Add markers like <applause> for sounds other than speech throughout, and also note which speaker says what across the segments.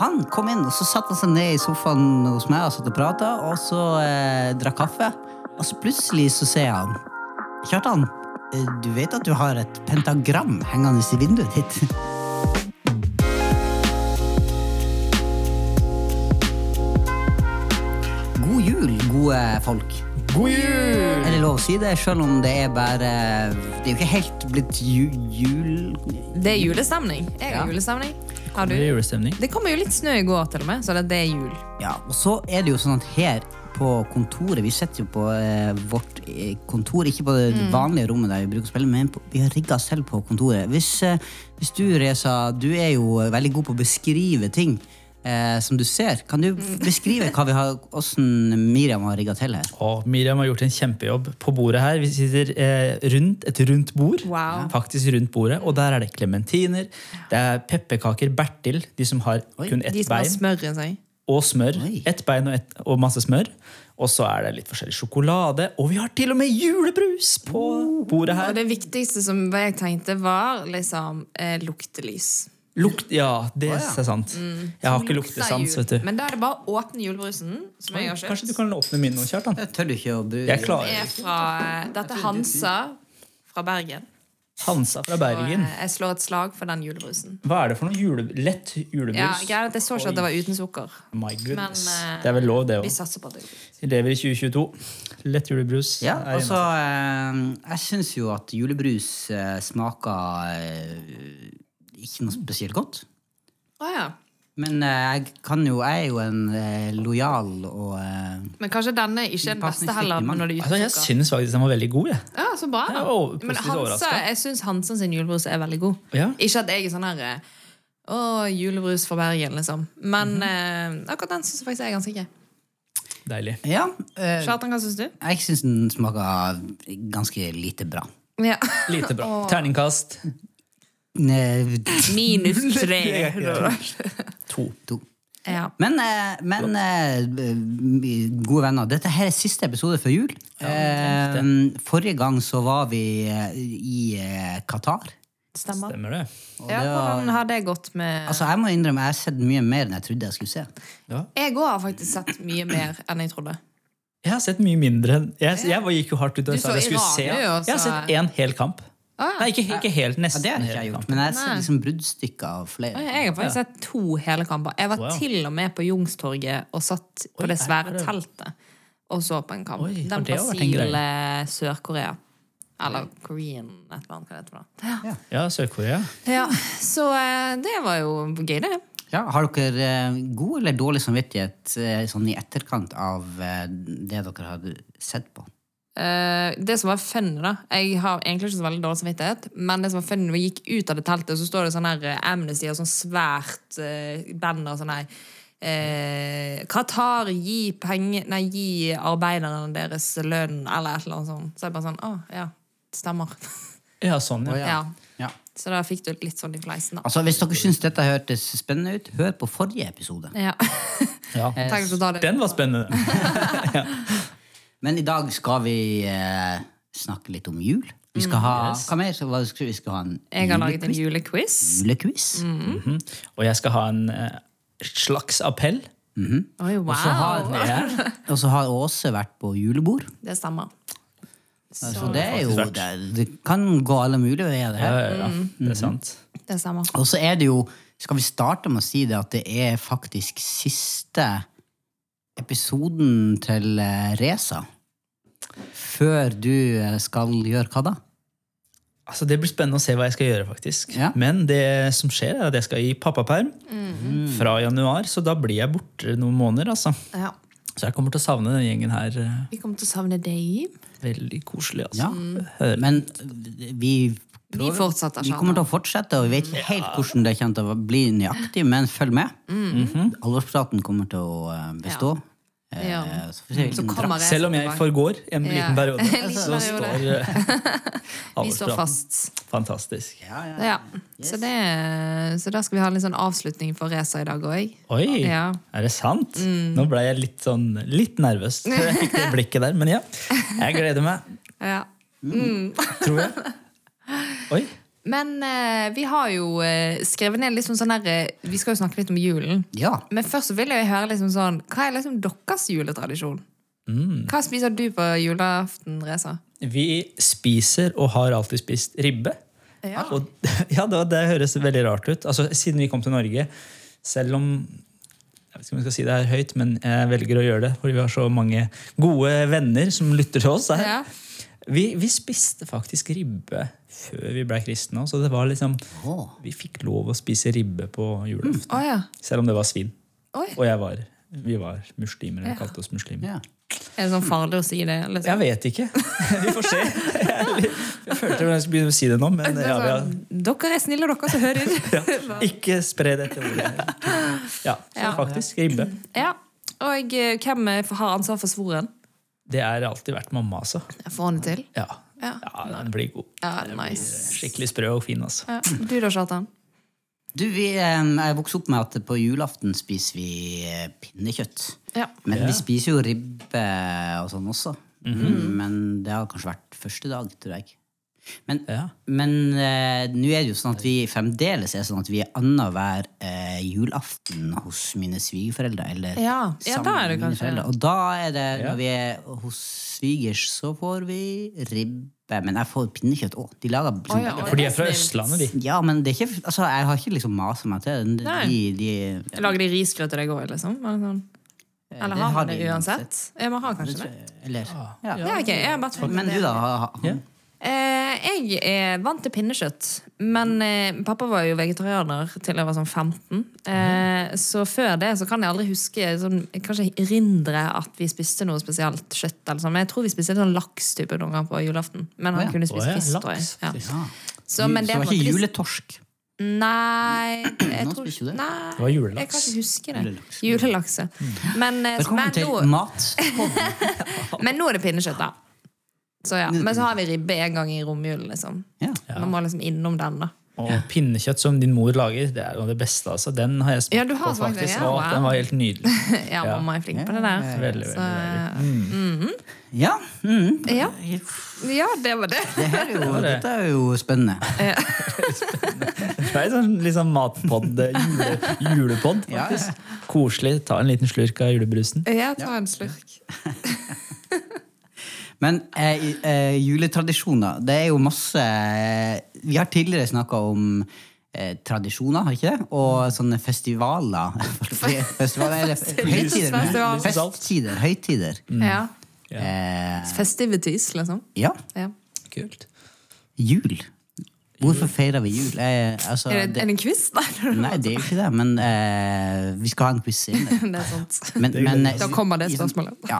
Speaker 1: han kom inn, og så satte han seg ned i sofaen hos meg og satt og prata, og så eh, drakk kaffe. Og så plutselig så ser jeg han. Kjartan, eh, du vet at du har et pentagram hengende i vinduet ditt? <laughs> God jul, gode folk.
Speaker 2: God jul!
Speaker 1: Er det lov å si det, sjøl om det er bare Det er jo ikke helt blitt ju jul...
Speaker 3: Det er julestemning. Jeg har
Speaker 1: Ja.
Speaker 3: julestemning. Har
Speaker 2: Det er
Speaker 3: du?
Speaker 2: julestemning.
Speaker 3: Det kommer jo litt snø i går til og med, så det det er jul.
Speaker 1: Ja, og så er det jo sånn at her på kontoret, vi sitter jo på eh, vårt eh, kontor, ikke på det vanlige rommet der vi bruker å spille, men på, vi har rigga selv på kontoret. Hvis, eh, hvis du, Reza, du er jo eh, veldig god på å beskrive ting eh, som du ser. Kan du beskrive hva vi har, hvordan Miriam har rigga til her?
Speaker 2: Og Miriam har gjort en kjempejobb på bordet her. Vi sitter eh, rundt et rundt bord.
Speaker 3: Wow.
Speaker 2: Faktisk rundt bordet. Og der er det klementiner, det er pepperkaker, Bertil, de som har
Speaker 1: Oi,
Speaker 2: kun ett
Speaker 3: De som har
Speaker 2: bein,
Speaker 3: smør i seg.
Speaker 2: og smør.
Speaker 1: Oi.
Speaker 2: Ett bein og, ett, og masse smør. Og så er det litt forskjellig sjokolade, og vi har til og med julebrus på bordet
Speaker 3: Og
Speaker 2: her.
Speaker 3: Oh. det viktigste som jeg tenkte, var liksom eh, luktelys.
Speaker 2: Lukt, ja, det
Speaker 1: Å, ja.
Speaker 2: er sant. Jeg har ikke
Speaker 3: Mm. Lukter
Speaker 2: luktesans,
Speaker 3: jul.
Speaker 2: vet du.
Speaker 3: Men da er det bare å åpne julebrusen, som jeg har kjøpt.
Speaker 2: Kanskje du kan åpne min nå, Kjartan?
Speaker 1: Jeg tør ikke å bruke
Speaker 2: Jeg klarer
Speaker 3: er fra, eh, Dette er Hansa fra Bergen.
Speaker 2: Hansa fra
Speaker 3: Og
Speaker 2: Bergen.
Speaker 3: eh, jeg slår et slag for den julebrusen.
Speaker 2: Hva er det for noe jule, lett julebrus?
Speaker 3: Ja, greit, at Jeg så ikke at det var uten sukker.
Speaker 2: My goodness.
Speaker 3: Men, eh,
Speaker 2: det er vel lov, det
Speaker 3: Vi
Speaker 2: òg.
Speaker 3: satser på at det er jul.
Speaker 2: Vi lever i 2022. Lett julebrus.
Speaker 1: Ja,
Speaker 2: er
Speaker 1: altså,
Speaker 2: innenfor.
Speaker 1: eh, jeg syns jo at julebrus eh, smaker eh, ikke noe spesielt godt.
Speaker 3: Å ja.
Speaker 1: Men eh, jeg kan jo, jeg er jo en eh, lojal og eh,
Speaker 3: Men kanskje denne ikke er den beste heller, men når det er
Speaker 2: altså,
Speaker 3: uten
Speaker 2: Jeg
Speaker 3: sukker.
Speaker 2: syns faktisk den var veldig god. Jeg.
Speaker 3: Ja, så bra.
Speaker 2: Jeg er over-
Speaker 3: Men
Speaker 2: positivt
Speaker 3: Hansa,
Speaker 2: overrasket.
Speaker 3: jeg syns Hansen sin julebrus er veldig god.
Speaker 2: Ja.
Speaker 3: Ikke at jeg er sånn her eh, Å, julebrus fra Bergen, liksom.
Speaker 2: Mhm.
Speaker 3: Men eh, akkurat den syns jeg faktisk er ganske grei.
Speaker 2: Deilig.
Speaker 1: Ja. eh,
Speaker 3: Kjartan, hva syns du?
Speaker 1: jeg syns den smaker ganske lite bra.
Speaker 3: Ja.
Speaker 2: Lite bra. Terningkast
Speaker 1: Ne-
Speaker 3: <laughs> <laughs> Minus
Speaker 2: Det
Speaker 3: tre.
Speaker 2: er greit. to.
Speaker 1: Eh, to.
Speaker 3: Ja.
Speaker 1: Men, eh, men eh, gode venner, dette her er siste episode før jul. Eh, forrige gang så var vi eh, i eh, Qatar.
Speaker 3: Stemmer.
Speaker 2: Stemmer det?
Speaker 3: Ja, hvordan har det gått med
Speaker 1: Altså, jeg må innrømme, jeg har sett mye mer enn jeg trodde jeg skulle se.
Speaker 2: Ja.
Speaker 3: Jeg òg har faktisk sett mye mer enn jeg trodde.
Speaker 2: Jeg har sett mye mindre. enn- Jeg, jeg bare gikk jo hardt ut
Speaker 3: Du
Speaker 2: og sa at jeg
Speaker 3: så
Speaker 2: skulle
Speaker 3: Iran,
Speaker 2: se.
Speaker 3: du, og
Speaker 2: Jeg har
Speaker 3: så-
Speaker 2: sett én hel kamp.
Speaker 3: Å, ja.
Speaker 2: Nei, ikke, ikke helt.
Speaker 1: Ja,
Speaker 2: Nesten
Speaker 1: det har ikke jeg
Speaker 2: hel
Speaker 1: gjort,
Speaker 2: kamp.
Speaker 1: men jeg har sett
Speaker 3: Nei.
Speaker 1: liksom bruddstykker av flere.
Speaker 3: Jeg har faktisk sett to hele kamper. Jeg var
Speaker 2: Wow.
Speaker 3: til og med på Youngstorget og satt på
Speaker 2: Oi,
Speaker 3: det svære
Speaker 2: er det-
Speaker 3: teltet og så på en kamp.
Speaker 2: Oi, har
Speaker 3: Den
Speaker 2: det vært en greie?
Speaker 3: Brasil-Sør-Korea. Eller Korean, et eller annet. Hva det heter for noe.
Speaker 2: Ja, Sør-Korea.
Speaker 3: Ja, så eh, det var jo gøy, det.
Speaker 1: Ja, har dere eh, god eller dårlig samvittighet eh, sånn i etterkant av eh, det dere har sett på?
Speaker 3: Eh, det som var funny, da Jeg har egentlig ikke så veldig dårlig samvittighet, men det som var funny når vi gikk ut av det teltet, så står det sånn her eh, Amnesty og sånn svært eh, banner sånn her eh, Qatar, gi penger Nei, gi arbeiderne deres lønn, eller et eller annet sånt. Så jeg bare sånn Å, ja. Stemmer.
Speaker 2: Ja, sånn, ja.
Speaker 3: <laughs> ja.
Speaker 1: Ja.
Speaker 3: Så da fikk du litt sånn i fleisen, da.
Speaker 1: Altså, Hvis dere syns dette hørtes spennende ut, hør på forrige episode.
Speaker 3: Ja.
Speaker 2: ja.
Speaker 3: Tenk å ta det.
Speaker 2: Den var spennende.
Speaker 1: Men i dag skal vi eh, snakke litt om jul. Vi skal ha
Speaker 2: Yes.
Speaker 1: hva mer? Så hva skal Vi vi skal ha en
Speaker 3: <laughs> Jeg har laget en
Speaker 1: julequiz.
Speaker 3: julequiz.
Speaker 1: julequiz.
Speaker 2: Mhm. Og jeg skal ha en eh, slags appell.
Speaker 3: Oi,
Speaker 1: Og så har,
Speaker 3: wow!
Speaker 1: og så har Åse vært på julebord.
Speaker 3: Det stemmer.
Speaker 1: Så,
Speaker 3: Altså,
Speaker 1: det er jo
Speaker 2: faktisk
Speaker 1: det, det kan gå alle mulige veier, det her.
Speaker 2: Ja, ja, ja. Det er sant.
Speaker 3: Det stemmer.
Speaker 1: Og så er det jo Skal vi starte med å si det at det er faktisk siste episoden til eh, Reza? Før du eh, skal gjøre hva da?
Speaker 2: Altså, det blir spennende å se hva jeg skal gjøre. faktisk.
Speaker 1: Ja.
Speaker 2: Men det som skjer er at jeg skal i pappaperm
Speaker 1: Mm.
Speaker 2: fra januar, så da blir jeg borte noen måneder. altså.
Speaker 3: Ja.
Speaker 2: Så jeg kommer til å savne den gjengen her. eh,
Speaker 3: Vi kommer til å savne deg.
Speaker 2: Veldig koselig. altså.
Speaker 1: Ja.
Speaker 2: Hør.
Speaker 1: Men vi
Speaker 3: Vi fortsetter,
Speaker 1: Vi kommer til å fortsette, og vi vet ikke helt hvordan det kommer til å bli nøyaktig, men følg med. Alvorspraten kommer til å eh, bestå.
Speaker 3: Ja.
Speaker 1: Eh, Så får vi se
Speaker 3: Så
Speaker 1: hvilken dra-
Speaker 3: kommer jeg
Speaker 2: Selv om jeg
Speaker 3: tilbake.
Speaker 2: forgår en
Speaker 3: Ja.
Speaker 2: liten
Speaker 3: <laughs>
Speaker 2: periode,
Speaker 3: En liten
Speaker 2: så
Speaker 3: periode.
Speaker 2: står eh,
Speaker 3: <laughs> Vi står
Speaker 2: alvorspraten.
Speaker 3: fast.
Speaker 2: Fantastisk.
Speaker 3: Ja. Så, det, så da skal vi ha en litt sånn avslutning for Reza i dag òg.
Speaker 2: Oi,
Speaker 3: Ja. Mm.
Speaker 2: er det sant? Nå ble jeg litt sånn, litt
Speaker 3: <laughs>
Speaker 2: nervøs. Jeg fikk det blikket der, men ja. Jeg gleder meg,
Speaker 3: Ja. <laughs>
Speaker 2: tror jeg. Oi,
Speaker 3: Men eh, vi har jo eh, skrevet ned liksom sånn her eh, Vi skal jo snakke litt om julen.
Speaker 1: Ja.
Speaker 3: Men først så vil jeg høre liksom sånn Hva er liksom deres juletradisjon?
Speaker 2: Mm.
Speaker 3: Hva spiser du på julaften, Reza?
Speaker 2: Vi spiser og har alltid spist ribbe.
Speaker 3: Ja.
Speaker 2: Og, <laughs> ja, det, det høres veldig rart ut. Altså, siden vi kom til Norge, selv om jeg vet ikke om jeg skal si det her høyt, men jeg velger å gjøre det, fordi vi har så mange gode venner som lytter til oss her.
Speaker 3: Ja.
Speaker 2: Vi, vi spiste faktisk ribbe før vi ble kristne òg, så det var liksom
Speaker 1: Åh.
Speaker 2: Vi fikk lov å spise ribbe på julaften.
Speaker 3: Å ja.
Speaker 2: Selv om det var svin.
Speaker 3: Oi.
Speaker 2: Og jeg var, vi var muslimer. eller
Speaker 3: Ja.
Speaker 2: kalte oss muslimer.
Speaker 1: ja.
Speaker 3: Er det sånn farlig å si det? Liksom?
Speaker 2: Jeg vet ikke. <laughs> Vi får se. Jeg, er litt, jeg følte jeg skulle begynne å si det nå, men
Speaker 3: Det er
Speaker 2: ja, vi har,
Speaker 3: sånn, Dere er snille, dere som hører.
Speaker 2: ja. Ikke spre dette ordet. Ja, så
Speaker 3: Ja.
Speaker 2: faktisk. Ribbe.
Speaker 3: <laughs> ja. Og eh, hvem eh, har ansvar for svoren?
Speaker 2: Det har alltid vært mamma, altså.
Speaker 3: Jeg får han det til.
Speaker 2: Ja.
Speaker 3: Ja.
Speaker 2: ja, den blir god.
Speaker 3: Ja, nice.
Speaker 2: Skikkelig sprø og fin, altså.
Speaker 3: Ja. Du da, Kjartan?
Speaker 1: Du, vi, eh, jeg vokste opp med at på julaften spiser vi eh, pinnekjøtt.
Speaker 3: Ja.
Speaker 1: Men
Speaker 2: Ja. Mhm.
Speaker 1: vi spiser jo ribbe og sånn også. Men det har kanskje vært første dag, tror jeg. Men,
Speaker 2: Ja.
Speaker 1: men eh, nå er det jo sånn at vi fremdeles er sånn at vi er annenhver eh, julaften hos mine svigerforeldre. Eller
Speaker 3: Ja. Ja,
Speaker 1: sammen
Speaker 3: da er
Speaker 1: med
Speaker 3: det
Speaker 1: mine
Speaker 3: kanskje-
Speaker 1: foreldre. Og da er det,
Speaker 2: Ja.
Speaker 1: når vi er hos svigers, så får vi ribbe. Men jeg får pinnekjøtt òg. De lager sånn
Speaker 3: ja,
Speaker 2: For de er fra Østlandet, de.
Speaker 1: ja, men det er ikke, altså, jeg har ikke liksom masa meg til det.
Speaker 3: Nei.
Speaker 1: De, de,
Speaker 3: Lager de risgrøt til deg òg, liksom? Eller, sånn? Eller
Speaker 1: Eh, det
Speaker 3: har
Speaker 1: har
Speaker 3: man det
Speaker 1: de
Speaker 3: uansett? Ja, man har kanskje det.
Speaker 1: Eller
Speaker 2: Ah,
Speaker 1: ja.
Speaker 3: Ja, ok, jeg har bare tvunget
Speaker 1: Men
Speaker 3: det.
Speaker 1: du, da? ha- ha-
Speaker 2: Ja.
Speaker 3: Eh, jeg er vant til pinnekjøtt, men eh, pappa var jo vegetarianer til jeg var sånn 15. Eh, så før det så kan jeg aldri huske sånn, jeg kan ikke erindre at vi spiste noe spesielt kjøtt. Eller sånn. Men jeg tror vi spiste sånn laks type noen gang på julaften. Men han
Speaker 1: Å ja.
Speaker 3: kunne
Speaker 2: Å
Speaker 3: spise
Speaker 2: ja,
Speaker 3: fisk. tror jeg.
Speaker 2: laks.
Speaker 3: Ja.
Speaker 2: Det
Speaker 1: Ja.
Speaker 3: Så, men det
Speaker 1: var
Speaker 3: var
Speaker 1: ikke
Speaker 3: trist.
Speaker 1: juletorsk. <clears throat>
Speaker 3: Nei, jeg
Speaker 1: Nå
Speaker 3: tror
Speaker 1: spiser du
Speaker 3: ikke
Speaker 1: det.
Speaker 3: Nei,
Speaker 2: var julelaks.
Speaker 3: jeg kan ikke huske det.
Speaker 1: Julelaks. Mm.
Speaker 3: Julelaks. ja. Men, eh,
Speaker 1: Velkommen
Speaker 3: men
Speaker 1: til
Speaker 3: nå- <laughs>
Speaker 1: mat.
Speaker 3: men nå er det pinnekjøtt, da. Så ja. Men så har vi ribbe en gang i romjulen, liksom.
Speaker 1: Ja.
Speaker 3: Man må liksom innom den, da. <laughs>
Speaker 2: Og pinnekjøtt som din mor lager, det er jo det beste. altså. Den har jeg smakt
Speaker 3: Ja, du har
Speaker 2: på,
Speaker 3: smakt det,
Speaker 2: faktisk.
Speaker 3: ja.
Speaker 2: Og
Speaker 3: Wow.
Speaker 2: den var helt nydelig.
Speaker 3: <laughs> Ja,
Speaker 2: Ja.
Speaker 3: mamma er flink på det der.
Speaker 2: Veldig, veldig,
Speaker 3: Så, eh,
Speaker 1: ja. Mm.
Speaker 3: ja. ja, det var det. <laughs>
Speaker 1: Det her er jo,
Speaker 2: var det.
Speaker 1: dette er jo spennende.
Speaker 2: Det er sånn liksom matpod, jule, julepod,
Speaker 1: Ja,
Speaker 2: faktisk. Koselig. Ta en liten slurk av julebrusen.
Speaker 3: Jeg tar en slurk.
Speaker 1: Men eh, i- eh, juletradisjoner, det er jo masse eh, Vi har tidligere snakka om eh, tradisjoner, har vi ikke det?
Speaker 3: Mm.
Speaker 1: Og sånne festivaler. <laughs> festivaler
Speaker 3: <laughs>
Speaker 1: eller høytider.
Speaker 3: Festival.
Speaker 1: men- Festtider. Høytider.
Speaker 2: Mm.
Speaker 3: Ja.
Speaker 1: Eh,
Speaker 3: Festivities, liksom.
Speaker 1: ja.
Speaker 3: Ja.
Speaker 2: Kult.
Speaker 1: Jul. Hvorfor feirer vi jul? Eh, altså,
Speaker 3: Er det, er
Speaker 1: det,
Speaker 3: det en quiz? <laughs> Nei,
Speaker 1: nei, det er jo ikke det, men eh, vi skal ha en quiz senere.
Speaker 3: det er sant.
Speaker 1: Men, men, eh,
Speaker 3: Da kommer det
Speaker 1: i sånn-
Speaker 3: spørsmålet.
Speaker 1: Ja.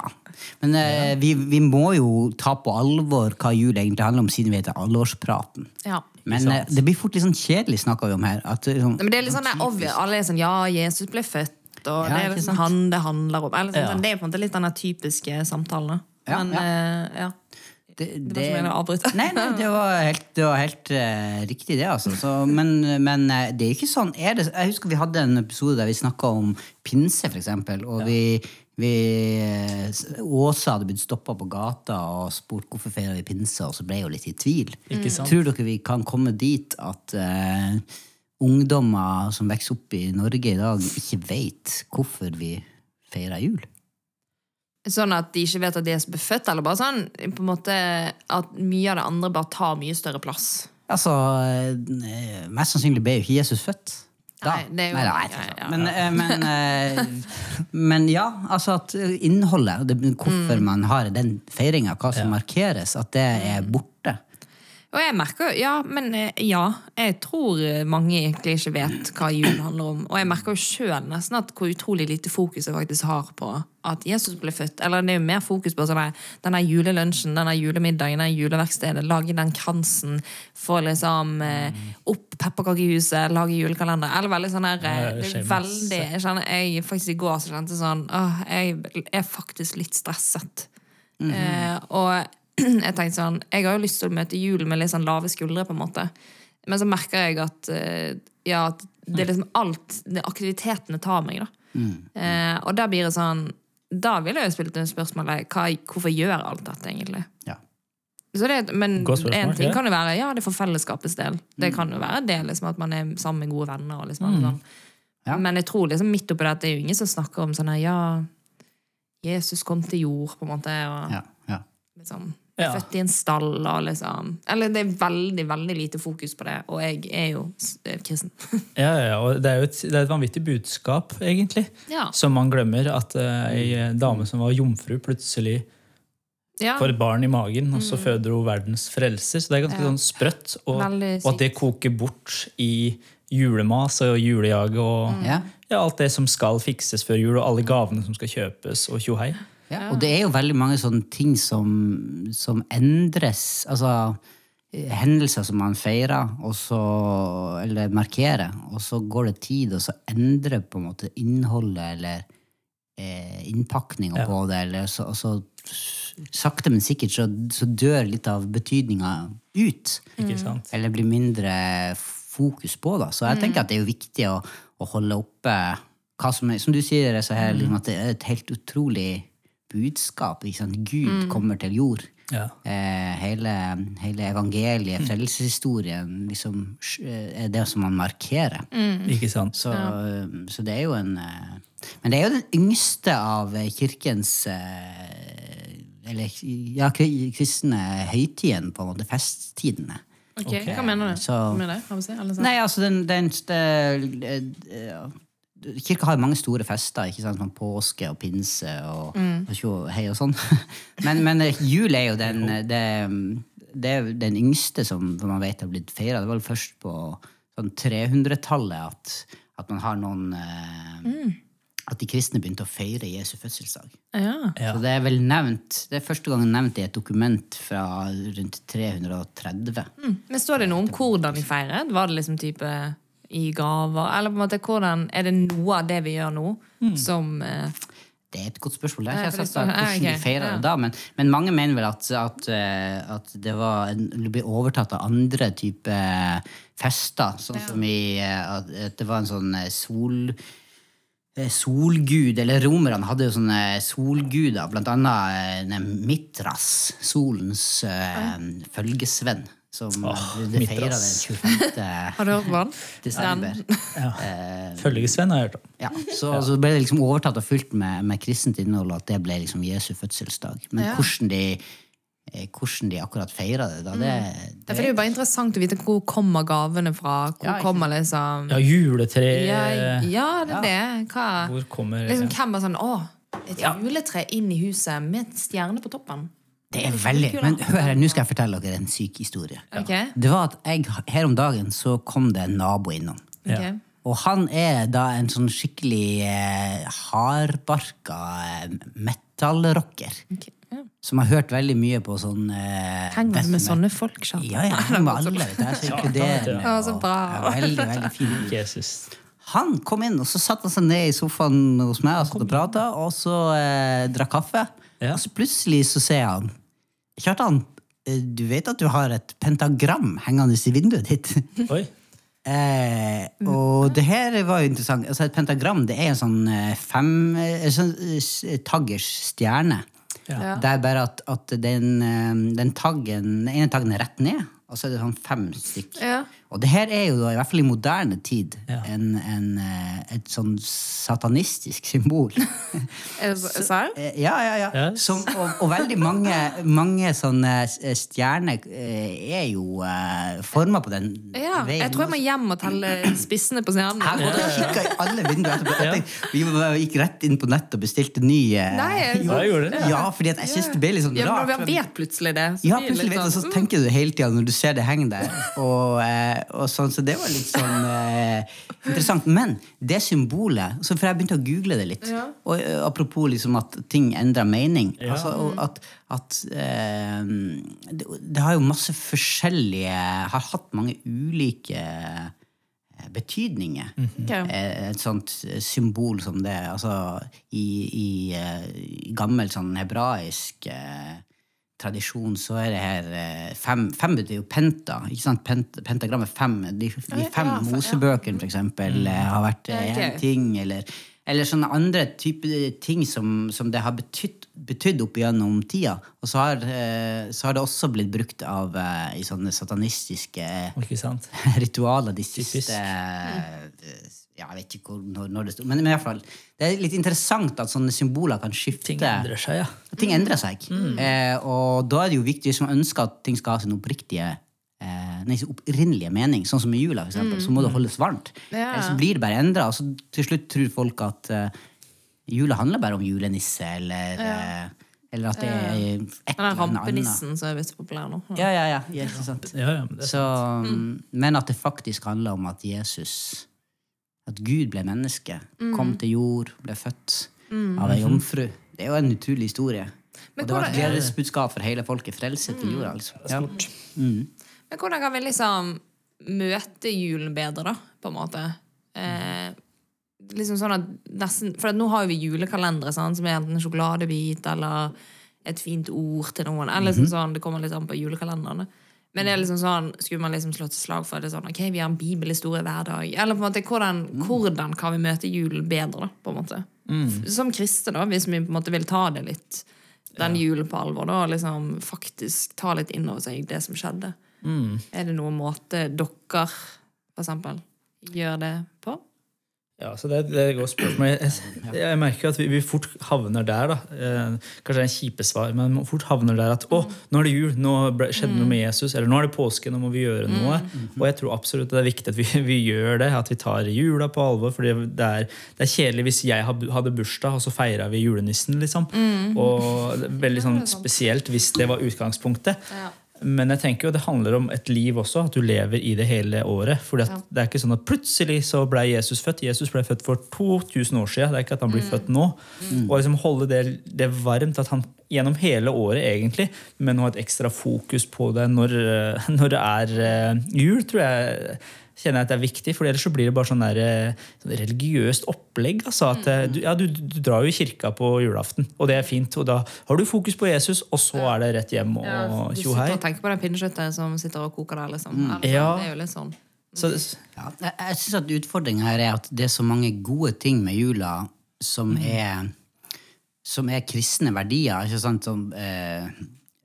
Speaker 1: Men eh, vi, vi må jo ta på alvor hva jul egentlig handler om, siden vi heter Alvorspraten.
Speaker 3: Ja.
Speaker 1: Men eh, det blir fort litt sånn kjedelig snakka vi om her. At, det er sånn,
Speaker 3: Men det er litt sånn der obvious. Alle er sånn Ja, Jesus ble født, og
Speaker 1: Ja,
Speaker 3: det er
Speaker 1: ikke
Speaker 3: liksom
Speaker 1: sant?
Speaker 3: han det handler om. Eller sånn,
Speaker 2: Ja.
Speaker 3: sånn, Det er på en måte litt den der typiske samtalen. da.
Speaker 1: Ja,
Speaker 3: Men
Speaker 1: ja.
Speaker 3: eh, ja.
Speaker 1: det,
Speaker 3: var ikke meningen å avbryte.
Speaker 1: <laughs> Nei, nei, det var helt, det var helt eh, riktig, det, altså. Så, men men eh, det er ikke sånn. Er det, jeg husker vi hadde en episode der vi snakka om pinse, for eksempel. Og vi, vi eh, s- Åsa hadde blitt stoppa på gata og spurt hvorfor feirer vi pinse, og så ble jeg jo litt i tvil.
Speaker 2: Ikke sant?
Speaker 1: Tror dere vi kan komme dit at eh, ungdommer som vokser opp i Norge i dag, ikke veit hvorfor vi feirer jul?
Speaker 3: Sånn at de ikke vet at de er så befødt, eller bare sånn på en måte at mye av det andre bare tar mye større plass.
Speaker 1: Altså, eh, mest sannsynlig ble jo ikke Jesus født. Da.
Speaker 3: Nei, det er jo-
Speaker 1: Nei, nei, jeg tror ikke.
Speaker 3: ja, ja.
Speaker 1: Men, eh, men, eh, <laughs> men ja, altså at innholdet, og det,
Speaker 3: Mm.
Speaker 1: hvorfor man har den feiringa, hva som markeres, at det er
Speaker 3: Mm.
Speaker 1: borte.
Speaker 3: Og jeg merker jo, ja, men eh, ja, jeg tror eh, mange egentlig ikke vet hva jul handler om. Og jeg merker jo sjøl nesten at hvor utrolig lite fokus jeg faktisk har på at Jesus ble født. Eller det er jo mer fokus på sånn her, denne julelunsjen, denne julemiddagen, denne juleverkstedet. Lage den kransen. Få liksom eh, opp pepperkakehuset, lage julekalender. Eller veldig sånn her eh,
Speaker 2: det
Speaker 3: Det
Speaker 2: skjer
Speaker 3: er veldig jeg kjenner, jeg, Faktisk i går så kjente jeg sånn Åh, jeg er faktisk litt stresset. Eh, og <clears throat> jeg tenkte sånn Jeg har jo lyst til å møte julen med litt sånn lave skuldre, på en måte. Men så merker jeg at eh, Ja, at det er liksom alt det Aktivitetene tar meg, da. Eh, og da blir det sånn Da ville jeg jo spilt inn spørsmålet hva, Hvorfor gjør jeg alt dette, egentlig?
Speaker 1: Ja.
Speaker 3: Så det, men
Speaker 2: Godt spørsmål,
Speaker 3: en ting
Speaker 2: ja.
Speaker 3: kan jo være ja, det er for fellesskapets del. Det kan jo være det, liksom, at man er sammen med gode venner. Og liksom, alt sånn.
Speaker 1: Ja.
Speaker 3: Men jeg tror liksom midt oppi dette det er jo ingen som snakker om sånn her Ja, Jesus kom til jord, på en måte. Og
Speaker 1: Ja, ja.
Speaker 3: liksom,
Speaker 2: Ja.
Speaker 3: Født i en stall og liksom Eller det er veldig, veldig lite fokus på det. Og jeg er jo s- eh, kristen. <laughs>
Speaker 2: Ja, ja, ja, og Det er jo et, det er et vanvittig budskap, egentlig,
Speaker 3: ja.
Speaker 2: som man glemmer. At eh, ei eh, dame som var jomfru, plutselig
Speaker 3: ja.
Speaker 2: får et barn i magen, og så føder hun verdens frelser. Så det er ganske
Speaker 3: Mm. Ja.
Speaker 2: sånn sprøtt. Og,
Speaker 3: Veldig
Speaker 2: og at det koker bort i julemas og julejag og
Speaker 3: Mm.
Speaker 1: Ja.
Speaker 2: ja, alt det som skal fikses før jul, og alle gavene som skal kjøpes, og tjohei.
Speaker 1: Ja, og det er jo veldig mange sånne ting som, som endres. Altså eh, hendelser som man feirer og så, eller markerer, og så går det tid, og så endrer på en måte innholdet eller eh, innpakninga på det. Eller, så, og så sakte, men sikkert så, så dør litt av betydninga ut.
Speaker 3: Mm.
Speaker 2: Ikke sant?
Speaker 1: Eller blir mindre fokus på. Da. Så jeg tenker at det er jo viktig å, å holde oppe hva som er, Som du sier, Reza, her, liksom, at det er et helt utrolig budskap. Ikke sant? Gud kommer til jord.
Speaker 2: Ja.
Speaker 1: Eh, hele, hele evangeliet, frelseshistorien, liksom, sj- eh, er det som man markerer.
Speaker 3: Mm.
Speaker 2: Ikke sant?
Speaker 1: Så, så det er jo en eh, Men det er jo den yngste av eh, kirkens eh, Eller ja, kri- kristne høytiden, på en måte. Festtidene.
Speaker 3: Ok, Hva mener du
Speaker 1: Så-
Speaker 3: med det? Har vi sett, alle sammen?
Speaker 1: Nei, altså den, den det- ja. Kirka har jo mange store fester, ikke sant? Sånn påske og pinse og, og tjo og hei og sånn. <laughs> Men, men eh, jul er jo den, eh, det, det er jo den yngste som som man vet har blitt feira. Det var vel først på sånn 300-tallet at, at man har noen eh, At de kristne begynte å feire Jesu fødselsdag.
Speaker 3: Ja.
Speaker 2: Ja.
Speaker 1: Så det er vel nevnt, det er første gang nevnt i et dokument fra rundt 330.
Speaker 3: Mm. Men står det noe om hvordan vi feiret? Var det liksom type i gaver? Eller på en måte, hvordan er det noe av det vi gjør nå, som eh,
Speaker 1: Det er et godt spørsmål. Det har
Speaker 3: Nei,
Speaker 1: ikke jeg
Speaker 3: for det
Speaker 1: sagt da,
Speaker 3: står- Nei,
Speaker 1: hvordan de
Speaker 3: ok,
Speaker 1: feirer
Speaker 3: ja.
Speaker 1: det da, men, men mange mener vel at, at, eh, at det var en, det ble overtatt av andre type eh, fester, sånn som i eh, at at det var en sånn eh, sol... eh, Solgud, eller romerne hadde jo sånne eh, solguder, blant annet eh, den Mitras, solens eh, følgesvenn, som
Speaker 2: Åh,
Speaker 1: det feirer den
Speaker 2: Mitras.
Speaker 3: <laughs>
Speaker 1: 25.
Speaker 3: Har du hørt på den?
Speaker 1: desember.
Speaker 2: Ja. Følgesvenn har jeg hørt om.
Speaker 1: Ja, så, så ble det liksom overtatt og fylt med, med kristent innhold, og at det ble liksom Jesu fødselsdag. Men
Speaker 3: Ja.
Speaker 1: hvordan, de, eh, hvordan de akkurat feira det, da, det,
Speaker 3: Mm. Ja, for det er jo bare interessant å vite hvor kommer gavene fra. Hvor
Speaker 1: Ja, ikke
Speaker 3: kommer liksom
Speaker 2: Ja, juletre
Speaker 3: Ja, ja det er det. Hva?
Speaker 2: Eh, Hvor kommer
Speaker 3: Liksom, hvem er sånn Å, et juletre inn i huset med et stjerne på toppen.
Speaker 1: det er veldig
Speaker 3: kult, da.
Speaker 1: Men hør her, nå skal jeg fortelle dere en syk historie.
Speaker 3: Ok?
Speaker 1: Det var at jeg, her om dagen så kom det en nabo innom.
Speaker 2: Ja.
Speaker 3: Ok.
Speaker 1: Og han er da en sånn skikkelig eh, hardbarka eh, metallrocker.
Speaker 3: Ok, ja.
Speaker 1: Som har hørt veldig mye på sånn eh,
Speaker 3: Henger
Speaker 1: death
Speaker 3: med sånne folk, Kjartan.
Speaker 1: Ja, ja, jeg
Speaker 3: <laughs>
Speaker 1: med alle, vet du. Jeg er så inkluderende.
Speaker 3: Ja, så
Speaker 1: og-
Speaker 3: bra.
Speaker 1: Ja, veldig, veldig fin.
Speaker 2: <laughs> Jesus.
Speaker 1: Han kom inn, og så satte han seg ned i sofaen hos meg og satt og prata, og så eh, drakk kaffe.
Speaker 2: Ja.
Speaker 1: Og så plutselig så ser jeg han. Kjartan, eh, du vet at du har et pentagram hengende i vinduet ditt? <laughs>
Speaker 2: Oi.
Speaker 1: Eh, og det her var jo interessant. Altså, et pentagram det er en sånn eh, fem eh, sånn, eh, s- taggers stjerne.
Speaker 2: Ja.
Speaker 1: Det er bare at, at den, eh, den taggen, den ene taggen er rett ned, og så er det sånn fem stykk.
Speaker 3: Ja.
Speaker 1: Og det her er jo da, i hvert fall i moderne tid,
Speaker 2: Ja.
Speaker 1: en, en, eh, et sånn satanistisk
Speaker 2: <laughs>
Speaker 1: symbol.
Speaker 3: Er det så- Serr?
Speaker 1: Eh, ja, ja, ja.
Speaker 2: Ja.
Speaker 1: Som, og, og veldig mange, mange sånne s- stjerner eh, er jo eh, forma på den
Speaker 3: Ja. Jeg tror jeg må hjem og telle
Speaker 1: <clears throat>
Speaker 3: spissene på
Speaker 1: Jeg
Speaker 3: stjernene.
Speaker 1: måtte kikke i alle vinduer etterpå. Jeg tenkte, vi bare gikk rett inn på nett og bestilte nye
Speaker 3: Nei,
Speaker 2: Ja, jeg gjorde det.
Speaker 1: Ja, fordi at jeg syns det ble litt sånn
Speaker 3: Ja, men når
Speaker 1: rart.
Speaker 3: vi vet plutselig det, så
Speaker 1: Ja,
Speaker 3: blir det
Speaker 1: plutselig
Speaker 3: litt
Speaker 1: vet du, så
Speaker 3: sånn,
Speaker 1: tenker du hele tida når du ser det henge der. Og, eh, og sånn, så det var litt sånn eh, interessant. Men det symbolet så For jeg begynte å google det litt.
Speaker 3: Ja.
Speaker 1: Og eh, apropos liksom at ting endrer mening.
Speaker 2: Ja.
Speaker 1: Altså,
Speaker 3: Mm.
Speaker 1: og at, at eh, det, det har jo masse forskjellige Har hatt mange ulike eh, betydninger.
Speaker 3: Ok.
Speaker 1: Eh, Et sånt symbol som det. Altså, i, i, eh, i gammel sånn hebraisk eh, tradisjon så er det her eh, fem, fem betyr jo penta. ikke sant? Pent, pentagrammet fem. De, de fem
Speaker 3: ja, for- ja.
Speaker 1: mosebøkene, for eksempel, eh, har vært eh,
Speaker 3: Ja, ok.
Speaker 1: en ting. Eller, Eller sånne andre type ting som, som det har betydd, betydd opp gjennom tida. Og så har, eh, så har det også blitt brukt av eh, i sånne satanistiske eh,
Speaker 2: Ikke sant?
Speaker 1: <laughs> ritualer de siste
Speaker 2: Typisk.
Speaker 1: eh, Ja, jeg vet ikke hvor, når, når det sto Men, men i hvert fall, det er litt interessant at sånne symboler kan skifte.
Speaker 2: Ting endrer Mm. seg, ja.
Speaker 1: Ting endrer seg. Eh, og da er det jo viktig, hvis man ønsker at ting skal ha sin oppriktige eh, Nei, sin opprinnelige mening, sånn som i jula, for eksempel, så må
Speaker 2: Mm.
Speaker 1: det holdes varmt.
Speaker 3: Ja.
Speaker 1: Ellers så blir det bare endra, og så til slutt tror folk at eh, jula handler bare om julenisse, eller eh, Eller at det er et
Speaker 3: Den der
Speaker 1: eller annet annet.
Speaker 3: rampenissen som er blitt så populær nå.
Speaker 1: Ja, ja, ja. ja ikke sant.
Speaker 2: ja, ja men det,
Speaker 1: Så,
Speaker 3: Mm.
Speaker 1: mm, Men at det faktisk handler om at Jesus At Gud ble menneske,
Speaker 3: Mm.
Speaker 1: kom til jord, ble født av ei jomfru. Det er jo en utrolig historie. og det var et
Speaker 3: hvordan er det- Mm.
Speaker 1: gledesbudskap for hele folket. Frelse til jorda, altså. Ja.
Speaker 3: Men hvordan kan vi liksom møte julen bedre, da, på en måte? Eh, liksom sånn at nesten, For at nå har jo vi julekalendere sant, som er enten en sjokoladebit eller et fint ord til noen. Eller liksom sånn, Det kommer litt an på julekalenderne. Men det er liksom sånn, skulle man liksom slått et slag for det sånn, ok, vi har en bibelhistorie hver dag? Eller på en måte, hvordan, hvordan kan vi møte julen bedre, da, på en måte? F- Som kristne, da, hvis vi på en måte vil ta det litt, den julen på alvor, da, og liksom faktisk ta litt inn over seg det som skjedde.
Speaker 2: Mm.
Speaker 3: Er det noen måte dere, for eksempel, gjør det på?
Speaker 2: Ja, så det, det er et godt spørsmål. Jeg, jeg merker at vi, vi fort havner der, da. Eh, kanskje det er en kjipe svar, men man fort havner der at å, nå er det jul, nå ble, skjedde noe med Jesus, eller nå er det påske, nå må vi gjøre noe. Og jeg tror absolutt det er viktig at vi, <laughs> vi gjør det, at vi tar jula på alvor. For det er, det er kjedelig hvis jeg had- hadde bursdag, og så feira vi julenissen, liksom. Og det er veldig sånn spesielt hvis det var utgangspunktet.
Speaker 3: Ja.
Speaker 2: Men jeg tenker jo det handler om et liv også, at du lever i det hele året. For det er ikke sånn at plutselig så ble Jesus født. Jesus ble født for 2000 år siden. Det er ikke at han blir
Speaker 3: Mm.
Speaker 2: født nå. Og liksom holde det, det varmt at han gjennom hele året, egentlig, men ha et ekstra fokus på det når, eh, når <laughs> det er eh, jul, tror jeg kjenner jeg at det er viktig, for ellers så blir det bare sånn der, eh, sånn religiøst opplegg. Altså, at,
Speaker 3: Mm.
Speaker 2: eh, du, ja, du, du drar jo i kirka på julaften, og det er fint, og da har du fokus på Jesus, og så er det rett hjem og
Speaker 3: Du
Speaker 2: tjo
Speaker 3: sitter
Speaker 2: hei. Mm.
Speaker 3: og tenker på den pinnekjøttet som sitter og koker der, liksom. Eller sånn,
Speaker 2: Ja.
Speaker 3: Det er jo litt sånn.
Speaker 2: Så,
Speaker 3: <laughs>
Speaker 1: Ja, jeg jeg syns at utfordringa her er at det er så mange gode ting med jula som
Speaker 3: Mm.
Speaker 1: er som er kristne verdier. ikke sant? Som eh,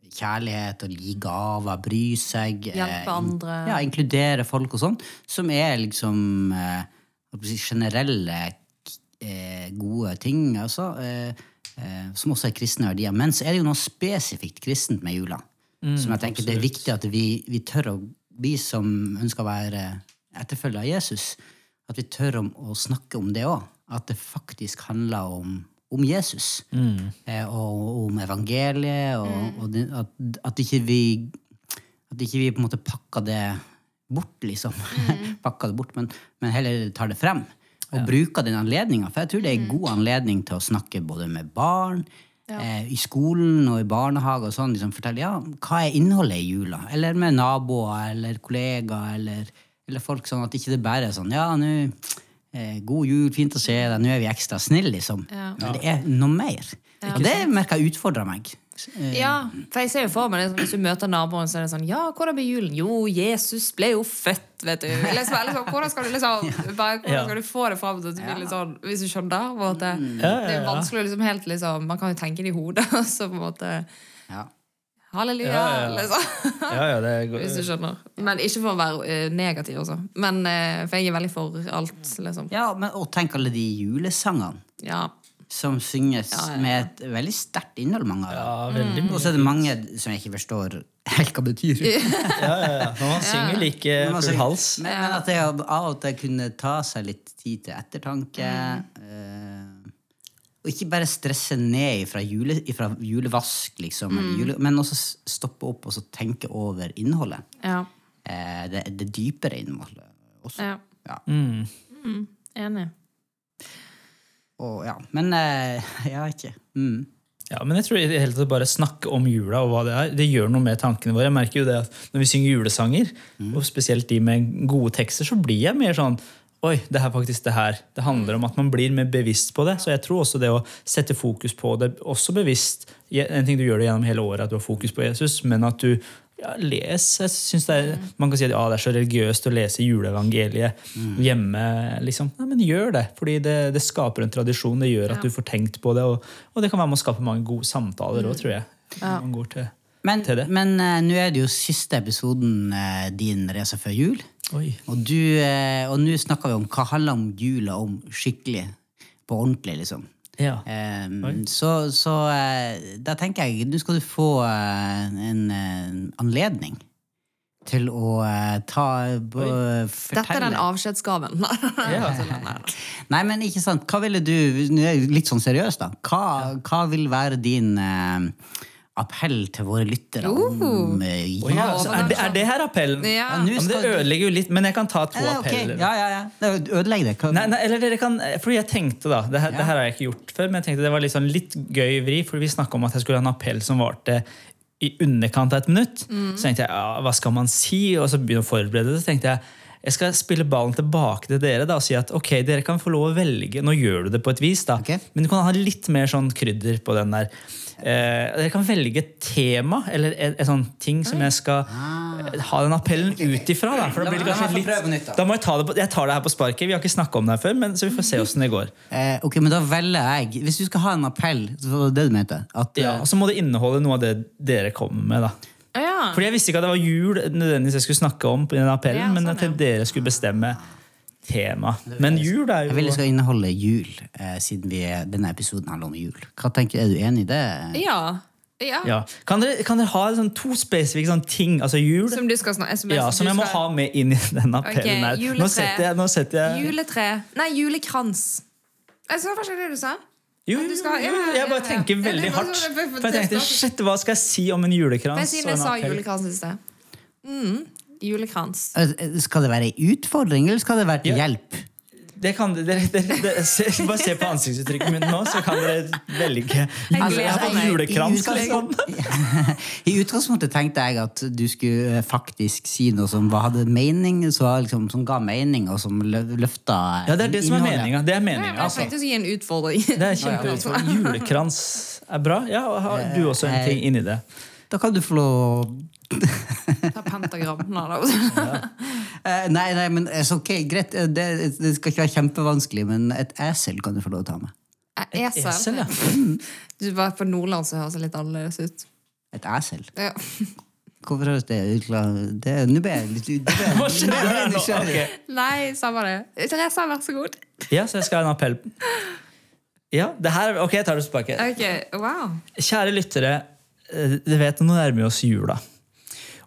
Speaker 1: kjærlighet og gi gaver, bry seg. eh,
Speaker 3: Hjelpe andre.
Speaker 1: Ja, inkludere folk og sånn. Som er liksom eh, hva skal jeg si, generelle k- eh, gode ting, altså. Eh, eh, som også er kristne verdier. Men så er det jo noe spesifikt kristent med jula. som jeg tenker det er viktig at vi, vi tør å Vi som ønsker å være etterfølger av Jesus, at vi tør om, å snakke om det òg. At det faktisk handler om, om Jesus. Eh, og, og om evangeliet, og, og det, at, at ikke vi at ikke vi på en måte pakker det bort, liksom. <laughs> pakker det bort, men, men heller tar det frem. Og bruker den anledninga. For jeg tror det er en god anledning til å snakke både med barn, eh, i skolen og i barnehage og sånn. Liksom, fortelle ja, hva er innholdet i jula? Eller med naboer eller kollegaer eller, eller folk. sånn At ikke det bare er sånn ja, nå eh, God jul, fint å se deg, nå er vi ekstra snille, liksom.
Speaker 3: Ja.
Speaker 1: Men det er noe mer. Og det merker jeg utfordrer meg.
Speaker 3: Ja, for jeg ser jo for meg det som hvis du møter naboen, så er det sånn Ja, hvordan blir julen? Jo, Jesus ble jo født, vet du. Liksom, eller sånn, hvordan skal du liksom bare, Hvordan skal du få det fram til at du blir litt sånn Hvis du skjønner? På en måte. Det
Speaker 2: Mm. Ja,
Speaker 3: er
Speaker 2: ja,
Speaker 3: jo
Speaker 2: ja.
Speaker 3: vanskelig å liksom helt liksom Man kan jo tenke det i hodet, <laughs> og så på en måte
Speaker 1: Ja.
Speaker 3: Halleluja,
Speaker 2: Ja, ja, ja.
Speaker 3: liksom.
Speaker 2: ja, ja, det er
Speaker 3: Hvis du
Speaker 2: godt.
Speaker 3: skjønner. Men ikke for å være eh, negativ, altså. Men, eh, for jeg er veldig for alt, liksom.
Speaker 1: Ja, men, og tenk alle de julesangene.
Speaker 3: Ja.
Speaker 1: som synges
Speaker 3: Ja, Mm. ja, ja.
Speaker 1: med et veldig sterkt innhold, mange av
Speaker 2: Ja,
Speaker 1: dem.
Speaker 2: veldig
Speaker 1: Og
Speaker 2: mye.
Speaker 1: så er det mange som jeg ikke forstår helt hva betyr.
Speaker 2: Ja, ja, ja. Når man synger like
Speaker 1: Men altså-
Speaker 2: full hals.
Speaker 1: Men, men at det av og til kunne ta seg litt tid til ettertanke.
Speaker 3: Mm.
Speaker 1: eh, og ikke bare stresse ned ifra, jule, ifra julevask, liksom,
Speaker 3: Mm.
Speaker 1: eller jule, men også s- stoppe opp og så tenke over innholdet.
Speaker 3: ja.
Speaker 1: Eh, det, det dypere innholdet også.
Speaker 3: Ja.
Speaker 1: Ja.
Speaker 2: Mm.
Speaker 3: Enig.
Speaker 1: Og, ja. Men eh, <laughs> jeg vet ikke. Mm.
Speaker 2: Ja, men jeg tror i det hele tatt bare snakke om jula og hva det er, det gjør noe med tankene våre. Jeg merker jo det at Når vi synger julesanger,
Speaker 1: Mm.
Speaker 2: og spesielt de med gode tekster, så blir jeg mer sånn Oi, det er faktisk det her. Det handler om at man blir mer bevisst på det. Så jeg tror også det å sette fokus på det, også bevisst En ting du gjør det gjennom hele året, at du har fokus på Jesus, men at du ja, les. Jeg synes det er, Man kan si at ja, det er så religiøst å lese juleevangeliet hjemme. liksom. Nei, men gjør det, fordi det, det skaper en tradisjon. Det gjør at du får tenkt på det, og, og det kan være med å skape mange gode samtaler òg, tror jeg. når Man går til.
Speaker 1: Men,
Speaker 2: Til det.
Speaker 1: men eh, nå er det jo siste episoden eh, din Reza før jul.
Speaker 2: Oi.
Speaker 1: Og du, eh, og nå snakker vi om hva handler om jula om skikkelig. På ordentlig, liksom.
Speaker 2: Ja.
Speaker 1: Eh, så så eh, da tenker jeg nå skal du få eh, en eh, anledning til å eh, ta b- fortelle
Speaker 3: Dette er den avskjedsgaven. <laughs> altså,
Speaker 1: Nei, men ikke sant. Hva ville du nå er jeg Litt sånn seriøst, da. Hva, hva vil være din eh, appell til våre lyttere om eh,
Speaker 2: Oi, ja,
Speaker 1: jula?
Speaker 2: altså, er, det, er det her appellen?
Speaker 3: Ja.
Speaker 2: Ja, men det ødelegger jo litt, men jeg kan ta to
Speaker 1: Eh, ok,
Speaker 2: appeller.
Speaker 1: Ja, ja, ja. Nei, Ødelegg det. Hva-
Speaker 2: Nei, nei, eller dere kan, fordi jeg tenkte da, det her, det her har jeg ikke gjort før, men jeg tenkte det var litt sånn litt gøy vri, fordi vi snakket om at jeg skulle ha en appell som varte i underkant av et minutt. Så tenkte jeg, ja, hva skal man si? Og så begynne å forberede det, så tenkte jeg, jeg skal spille ballen tilbake til dere da, og si at ok, dere kan få lov å velge, nå gjør du det på et vis da,
Speaker 1: Ok.
Speaker 2: men du kan ha litt mer sånn krydder på den der. Eh, dere kan velge et tema, eller en, en sånn ting som jeg skal eh, ha den appellen ut ifra da, for
Speaker 1: La
Speaker 2: da blir det
Speaker 1: meg- la
Speaker 2: kanskje
Speaker 1: meg få prøve
Speaker 2: litt...
Speaker 1: nytt, da.
Speaker 2: Da må jeg ta det på, jeg tar det her på sparket. Vi har ikke snakka om det her før, men så vi får
Speaker 3: Mhm.
Speaker 2: se åssen det går.
Speaker 1: Eh, ok, men da velger jeg Hvis du skal ha en appell, så var det det du mente? At,
Speaker 2: Ja,
Speaker 1: eh,
Speaker 2: og så må det inneholde noe av det dere kommer med. da.
Speaker 3: Ja.
Speaker 2: Fordi jeg visste ikke at det var jul nødvendigvis jeg skulle snakke om, på den appellen,
Speaker 3: Ja, sånn,
Speaker 2: men at
Speaker 3: ja.
Speaker 2: dere skulle bestemme tema. Men jul er
Speaker 1: Jeg vil det
Speaker 2: jo
Speaker 1: skal inneholde jul, eh, siden vi, denne episoden handler om jul. Hva tenker Er du enig i det?
Speaker 3: Ja. ja.
Speaker 2: ja. kan, dere, kan dere ha sånn to spesifikke sånn ting? Altså jul
Speaker 3: Som du skal snakke som,
Speaker 2: ja, som
Speaker 3: du
Speaker 2: jeg må
Speaker 3: skal-
Speaker 2: ha med inn i den appellen
Speaker 3: Ok,
Speaker 2: her.
Speaker 3: juletre.
Speaker 2: Nå setter jeg, nå setter jeg
Speaker 3: Juletre. Nei, julekrans. Jeg sa faktisk det du sa. Ja,
Speaker 2: jo, jo,
Speaker 3: du
Speaker 2: jo,
Speaker 3: skal ha- ja,
Speaker 2: jo,
Speaker 3: ja, ja,
Speaker 2: jeg bare
Speaker 3: ja.
Speaker 2: tenker
Speaker 3: Ja, det
Speaker 2: veldig
Speaker 3: var
Speaker 2: hardt.
Speaker 3: sånn, jeg får-
Speaker 2: For jeg tenkte shit, hva skal jeg si om en
Speaker 3: Men
Speaker 2: julekrans?
Speaker 3: siden
Speaker 2: og
Speaker 3: jeg
Speaker 2: en
Speaker 3: sa
Speaker 2: appell?
Speaker 3: julekrans i sted. Mm, julekrans.
Speaker 1: Eh, Skal det være en utfordring, eller skal det være til
Speaker 2: Ja.
Speaker 1: hjelp?
Speaker 2: Det kan dere, dere, dere se, Bare se på ansiktsuttrykket mitt nå, så kan dere velge.
Speaker 3: gleder
Speaker 2: jeg har fått
Speaker 3: meg.
Speaker 2: julekrans,
Speaker 1: Altså, I
Speaker 2: liksom.
Speaker 1: <laughs> I utgangspunktet tenkte jeg at du skulle eh, faktisk si noe som var- hadde mening, så var liksom, som ga mening, og som lø- løfta eh,
Speaker 2: Ja, det er det som er
Speaker 1: innholdet.
Speaker 2: meninga. Det er
Speaker 3: Nei, men
Speaker 2: meningen,
Speaker 3: Jeg
Speaker 2: altså.
Speaker 3: tenkte å gi en utfordring.
Speaker 2: Det er
Speaker 3: <laughs>
Speaker 2: kjempeutfordring. Julekrans er bra. Ja, og har du også en ting inni det?
Speaker 1: Da kan du få lov
Speaker 3: Ta pentagram. Nei,
Speaker 2: <laughs>
Speaker 3: da.
Speaker 1: Eh, Nei, nei, men eh, så, ok, greit. eh, Det, det skal ikke være kjempevanskelig, men et esel kan du få lov å ta med.
Speaker 3: Esel.
Speaker 2: Esel, ja.
Speaker 3: <laughs> Du var på Nordland, så høres det litt annerledes ut.
Speaker 1: Et esel?
Speaker 3: Ja.
Speaker 1: Hvorfor høres det ut som det er- Nå ble jeg litt nå ble jeg-
Speaker 2: Hva skjedde
Speaker 1: nå ble jeg
Speaker 2: der nå?
Speaker 1: nysgjerrig.
Speaker 2: Ok.
Speaker 3: Nei, samme det. Therese, vær så god.
Speaker 2: Ja, så jeg skal ha en appell. Ja, det her, ok, jeg tar det tilbake.
Speaker 3: Ok, wow.
Speaker 2: Kjære lyttere, eh, dere vet nå nærmer vi oss jula.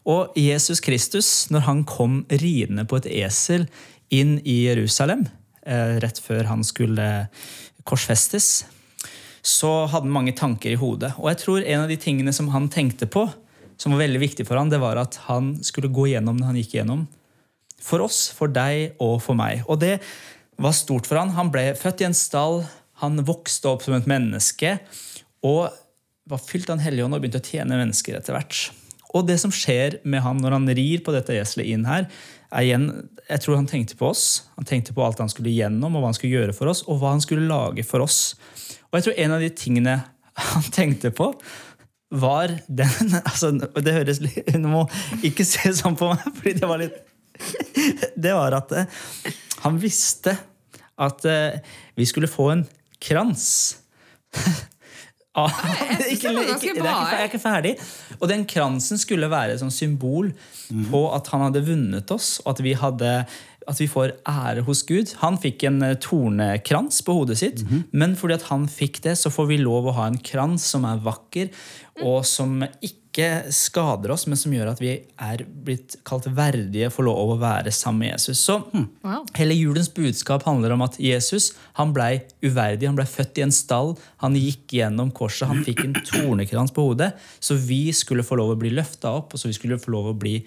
Speaker 2: Og Jesus Kristus, når han kom ridende på et esel inn i Jerusalem, eh, rett før han skulle korsfestes, så hadde han mange tanker i hodet. Og jeg tror en av de tingene som han tenkte på, som var veldig viktig for han, det var at han skulle gå gjennom det han gikk gjennom. For oss, for deg og for meg. Og det var stort for han. Han ble født i en stall, han vokste opp som et menneske, og var fylt av Den hellige ånd og begynte å tjene mennesker etter hvert. Og det som skjer med han når han rir på dette eselet inn her, er igjen, jeg tror han tenkte på oss. Han tenkte på alt han skulle igjennom, og hva han skulle gjøre for oss, og hva han skulle lage for oss. Og jeg tror en av de tingene han tenkte på, var den <laughs> altså, Det høres litt Du må ikke se sånn på meg, fordi det var litt det var at eh, han visste at eh, vi skulle få en krans. <laughs> Ah,
Speaker 3: synes
Speaker 2: ikke-
Speaker 3: det var
Speaker 2: ikke-
Speaker 3: ganske
Speaker 2: det er
Speaker 3: bra,
Speaker 2: ikke- Jeg er ikke ferdig. Og den kransen skulle være et sånt symbol på at han hadde vunnet oss, og at vi, hadde, at vi får ære hos Gud. Han fikk en eh, tornekrans på hodet sitt, men fordi at han fikk det, så får vi lov å ha en krans som er vakker,
Speaker 3: Mm.
Speaker 2: og som ikke skader oss, men som gjør at vi er blitt kalt verdige for lov å være sammen med Jesus. Så hm,
Speaker 3: Wow.
Speaker 2: Hele julens budskap handler om at Jesus han blei uverdig. Han blei født i en stall, han gikk gjennom korset, han fikk en tornekrans på hodet. Så vi skulle få lov å bli løfta opp, og så vi skulle få lov å bli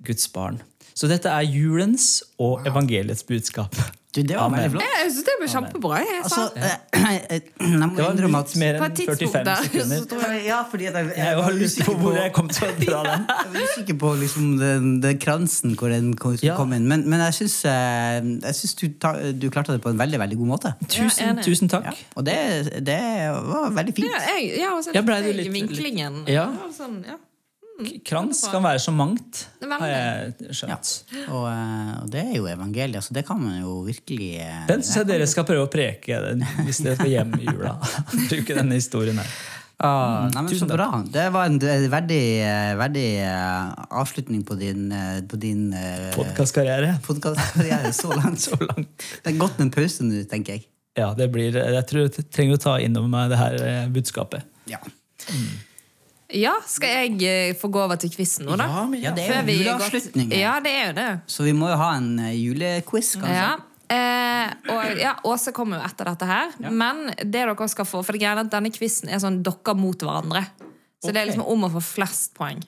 Speaker 2: Guds barn. Så dette er julens og evangeliets budskap.
Speaker 1: Du, det var
Speaker 2: Amen.
Speaker 1: veldig flott.
Speaker 3: Jeg syns det ble kjempebra. Jeg,
Speaker 1: Altså,
Speaker 3: sant?
Speaker 1: eh, eh, jeg må
Speaker 2: Det var
Speaker 1: innrømme at
Speaker 2: litt mer
Speaker 3: På et
Speaker 2: enn
Speaker 3: tidspunkt
Speaker 2: 45
Speaker 3: der.
Speaker 2: sekunder.
Speaker 3: så tror jeg-
Speaker 1: Ja, fordi at jeg,
Speaker 2: Jeg var usikker på hvor jeg kom til å
Speaker 3: <laughs>
Speaker 2: dra den.
Speaker 1: Jeg var usikker på liksom den, den kransen hvor den kom, skulle
Speaker 2: Ja.
Speaker 1: komme inn. Men, men jeg syns, eh, jeg syns du, ta, du klarte det på en veldig veldig god måte.
Speaker 2: Tusen,
Speaker 3: enig.
Speaker 2: tusen takk.
Speaker 1: Og det, det var veldig fint.
Speaker 3: Ja, jeg, ja, og så
Speaker 2: Ja, ble
Speaker 3: likte
Speaker 2: du
Speaker 3: jeg
Speaker 2: litt-
Speaker 3: vinklingen.
Speaker 2: Ja.
Speaker 3: Det var Sånn, ja.
Speaker 2: Krans kan være så mangt,
Speaker 3: Det er veldig.
Speaker 2: har jeg skjønt.
Speaker 1: Og, eh, og det er jo evangeliet, så det kan man jo virkelig eh,
Speaker 2: Den syns jeg dere skal prøve å preke den, hvis dere skal hjem i <laughs> jula. Bruke denne historien her.
Speaker 1: Ah, nei, men
Speaker 2: tusen
Speaker 1: så bra. Det var en eh, verdig, eh, verdig eh, avslutning på din, eh, på din eh,
Speaker 2: Podkastkarriere.
Speaker 1: podkastkarriere <laughs> så langt. så langt. Det er godt med en pause nå, tenker jeg.
Speaker 2: Ja, det blir, jeg tror jeg trenger å ta innover meg det her eh, budskapet.
Speaker 1: Ja,
Speaker 3: Ja, skal jeg eh, få gå over til quizen nå, da?
Speaker 2: Ja, men ja.
Speaker 1: det er
Speaker 3: Før
Speaker 1: jo
Speaker 3: vi går-
Speaker 1: juleavslutning. her.
Speaker 3: Ja, det er jo det.
Speaker 1: Så vi må jo ha en eh, julequiz, kanskje.
Speaker 3: Ja. Eh, og ja, Åse kommer jo etter dette her. Men det dere skal få, for det greia er at denne quizen er sånn dere mot hverandre. Så det er liksom om å få flest poeng.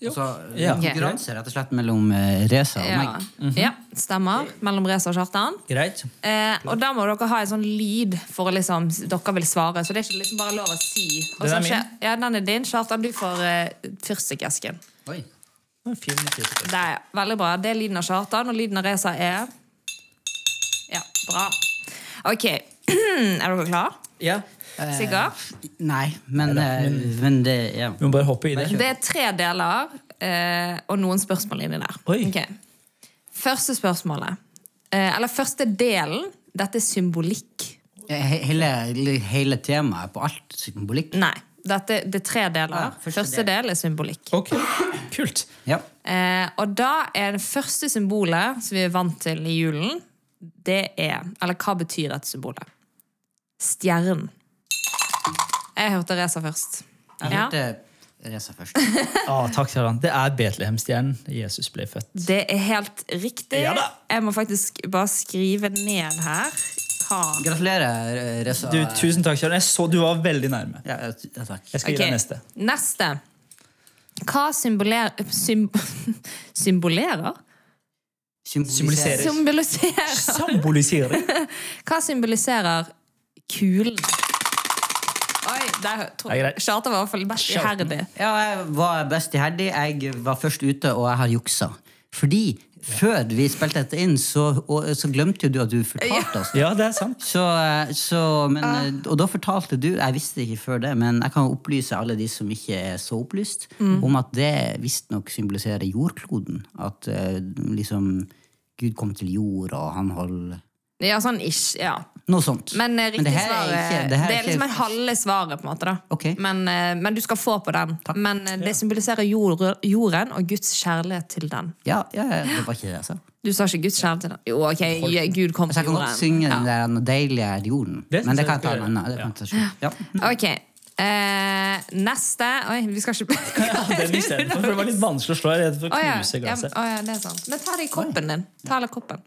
Speaker 2: Jo.
Speaker 1: Så
Speaker 2: Ja.
Speaker 1: en konkurranse rett og slett mellom eh, Reza og
Speaker 3: Ja,
Speaker 1: meg.
Speaker 3: ja stemmer. Mellom Reza og Kjartan.
Speaker 2: Greit.
Speaker 3: Eh, og da må dere ha en sånn lyd for å liksom Dere vil svare, så det er ikke liksom bare lov å si. Og
Speaker 2: Den
Speaker 3: så
Speaker 2: er min.
Speaker 3: skje- Ja, den er din. Kjartan, du får eh, fyrstikkesken.
Speaker 1: Oi.
Speaker 2: Det var en Fin kritikk.
Speaker 3: Det er veldig bra. Det er lyden av Kjartan, og lyden av Reza er Ja, bra. OK. <clears throat> er dere klare?
Speaker 2: ja.
Speaker 3: Sigurd?
Speaker 1: Nei, men, eh, men det ja.
Speaker 2: Vi må bare hoppe i det.
Speaker 3: Det er tre deler eh, og noen spørsmål inni der.
Speaker 2: Oi.
Speaker 3: Ok. Første spørsmålet. Eh, eller første delen. Dette er symbolikk.
Speaker 1: He- Hele, hele temaet på alt symbolikk.
Speaker 3: Nei. Dette, det er tre deler.
Speaker 1: Ja, første
Speaker 3: første del er symbolikk.
Speaker 2: Ok, Kult.
Speaker 1: Ja.
Speaker 3: Eh, og da er det første symbolet som vi er vant til i julen, det er Eller hva betyr dette symbolet? Stjernen. Jeg hørte Reza først.
Speaker 1: Jeg
Speaker 3: Ja.
Speaker 1: hørte Reza først.
Speaker 2: Ah, takk, Kjartan. Det er Betlehemstjernen Jesus ble født.
Speaker 3: Det er helt riktig.
Speaker 2: Ja da.
Speaker 3: Jeg må faktisk bare skrive ned her hva
Speaker 1: Gratulerer, eh, Reza.
Speaker 2: Du, tusen takk, Kjartan. Jeg så du var veldig nærme.
Speaker 1: ja, ja, t- ja, takk.
Speaker 2: Jeg skal gi
Speaker 3: Ok,
Speaker 2: deg neste.
Speaker 3: Neste. Hva symboler, sym, <laughs> symbolerer?
Speaker 2: Symboliserer.
Speaker 3: Symboliserer.
Speaker 2: Sambolisering. <laughs>
Speaker 3: Hva symboliserer kulen? Oi, der
Speaker 2: Det er greit.
Speaker 3: Charter var i hvert fall best
Speaker 2: Charter.
Speaker 3: iherdig.
Speaker 1: Ja, jeg var best iherdig. Jeg var først ute, og jeg har juksa. Fordi før vi spilte dette inn, så, og, så glemte jo du at du fortalte oss.
Speaker 2: Ja, det er sant.
Speaker 1: Så, så, men, og da fortalte du, jeg visste ikke før det, men jeg kan opplyse alle de som ikke er så opplyst, om at det visstnok symboliserer jordkloden. At eh, liksom Gud kom til jord, og han holder
Speaker 3: Ja, sånn ish. ja.
Speaker 1: Noe sånt.
Speaker 3: Men eh, riktig
Speaker 1: det her er
Speaker 3: svar er,
Speaker 1: ikke-
Speaker 3: det
Speaker 1: det her er
Speaker 3: er liksom
Speaker 1: ikke-
Speaker 3: en halve svaret, på en måte. da.
Speaker 1: Ok.
Speaker 3: Men, eh, men du skal få på den. Men eh, det symboliserer jord, jorden og Guds kjærlighet til den.
Speaker 1: Ja, ja, ja, det var ikke det jeg sa.
Speaker 3: Du sa ikke Guds kjærlighet til den? Jo, ok, Gud kom
Speaker 1: Så jeg
Speaker 3: til
Speaker 1: kan godt
Speaker 3: jorden.
Speaker 1: synge den der 'Noe deilig er jorden',
Speaker 2: Det synes
Speaker 1: men det
Speaker 2: jeg
Speaker 1: kan jeg
Speaker 2: skal
Speaker 1: ta en
Speaker 2: gjøre.
Speaker 1: annen. Det kan jeg ta selv. Ja.
Speaker 3: Ok. Eh, neste Oi, vi skal
Speaker 2: <laughs>
Speaker 3: ikke
Speaker 2: Den i stedet for, for det var litt vanskelig å slå. Jeg er redd for å
Speaker 3: Å ja,
Speaker 2: knuse
Speaker 3: ja,
Speaker 2: glasset.
Speaker 3: å ja, det er sant. Men ta det i koppen din. Ta det i koppen.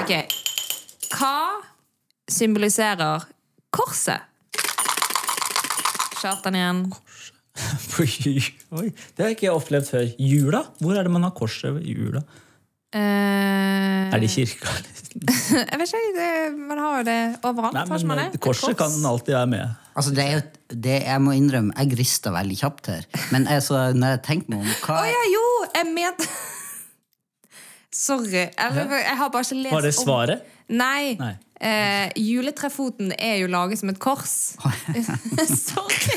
Speaker 3: Ok. Hva symboliserer korset? Kjartan igjen.
Speaker 2: Oi, det har ikke jeg opplevd før. Jula? Hvor er det man har korset ved jula?
Speaker 3: Eh,
Speaker 2: Er det i kirka?
Speaker 3: Jeg vet ikke, det, man har jo det overalt.
Speaker 2: Nei,
Speaker 3: har ikke man
Speaker 2: men eh,
Speaker 3: det? Et
Speaker 2: korset
Speaker 3: kors.
Speaker 2: kan alltid være med.
Speaker 1: Altså, det er jo, det, jeg må innrømme, jeg rister veldig kjapt her. Men altså, når jeg tenker meg om hva
Speaker 3: Å ja, jo! Jeg mente <laughs> Sorry. Jeg, jeg har bare ikke lest
Speaker 2: Var det
Speaker 3: om
Speaker 2: svaret?
Speaker 3: Nei.
Speaker 2: Nei.
Speaker 3: Eh, juletrefoten er jo laget som et
Speaker 2: <laughs>
Speaker 3: kors. Sorry.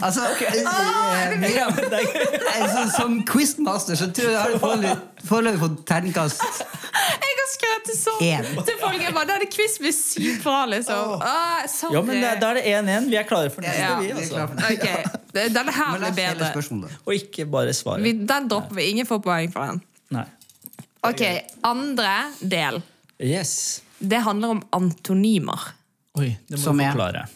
Speaker 1: Altså, eh, Miriam, <laughs> altså, som quizmaster så tror jeg jeg har foreløpig- foreløpig fått terningkast
Speaker 3: Jeg har skrevet til sånn
Speaker 1: En.
Speaker 3: til folk. Jeg bare, Da er det quiz med syv bra, liksom. Åh, sorry.
Speaker 2: Ja, men eh, da da er det 1-1. Vi er klare for neste,
Speaker 3: Ja,
Speaker 2: vi.
Speaker 1: vi er
Speaker 2: Altså.
Speaker 1: klare for det.
Speaker 3: <laughs> Ok, det- Den her
Speaker 1: Men
Speaker 3: blir
Speaker 1: la oss stille
Speaker 3: bedre.
Speaker 1: spørsmål, da.
Speaker 2: Og ikke bare
Speaker 3: Vi,
Speaker 2: svaret.
Speaker 3: den dropper vi. Ingen får poeng for den.
Speaker 2: Nei.
Speaker 3: Ok, Andre del.
Speaker 2: Yes.
Speaker 3: Det handler om antonymer.
Speaker 2: Oi, det må
Speaker 1: Som
Speaker 2: du
Speaker 1: er-
Speaker 2: forklare.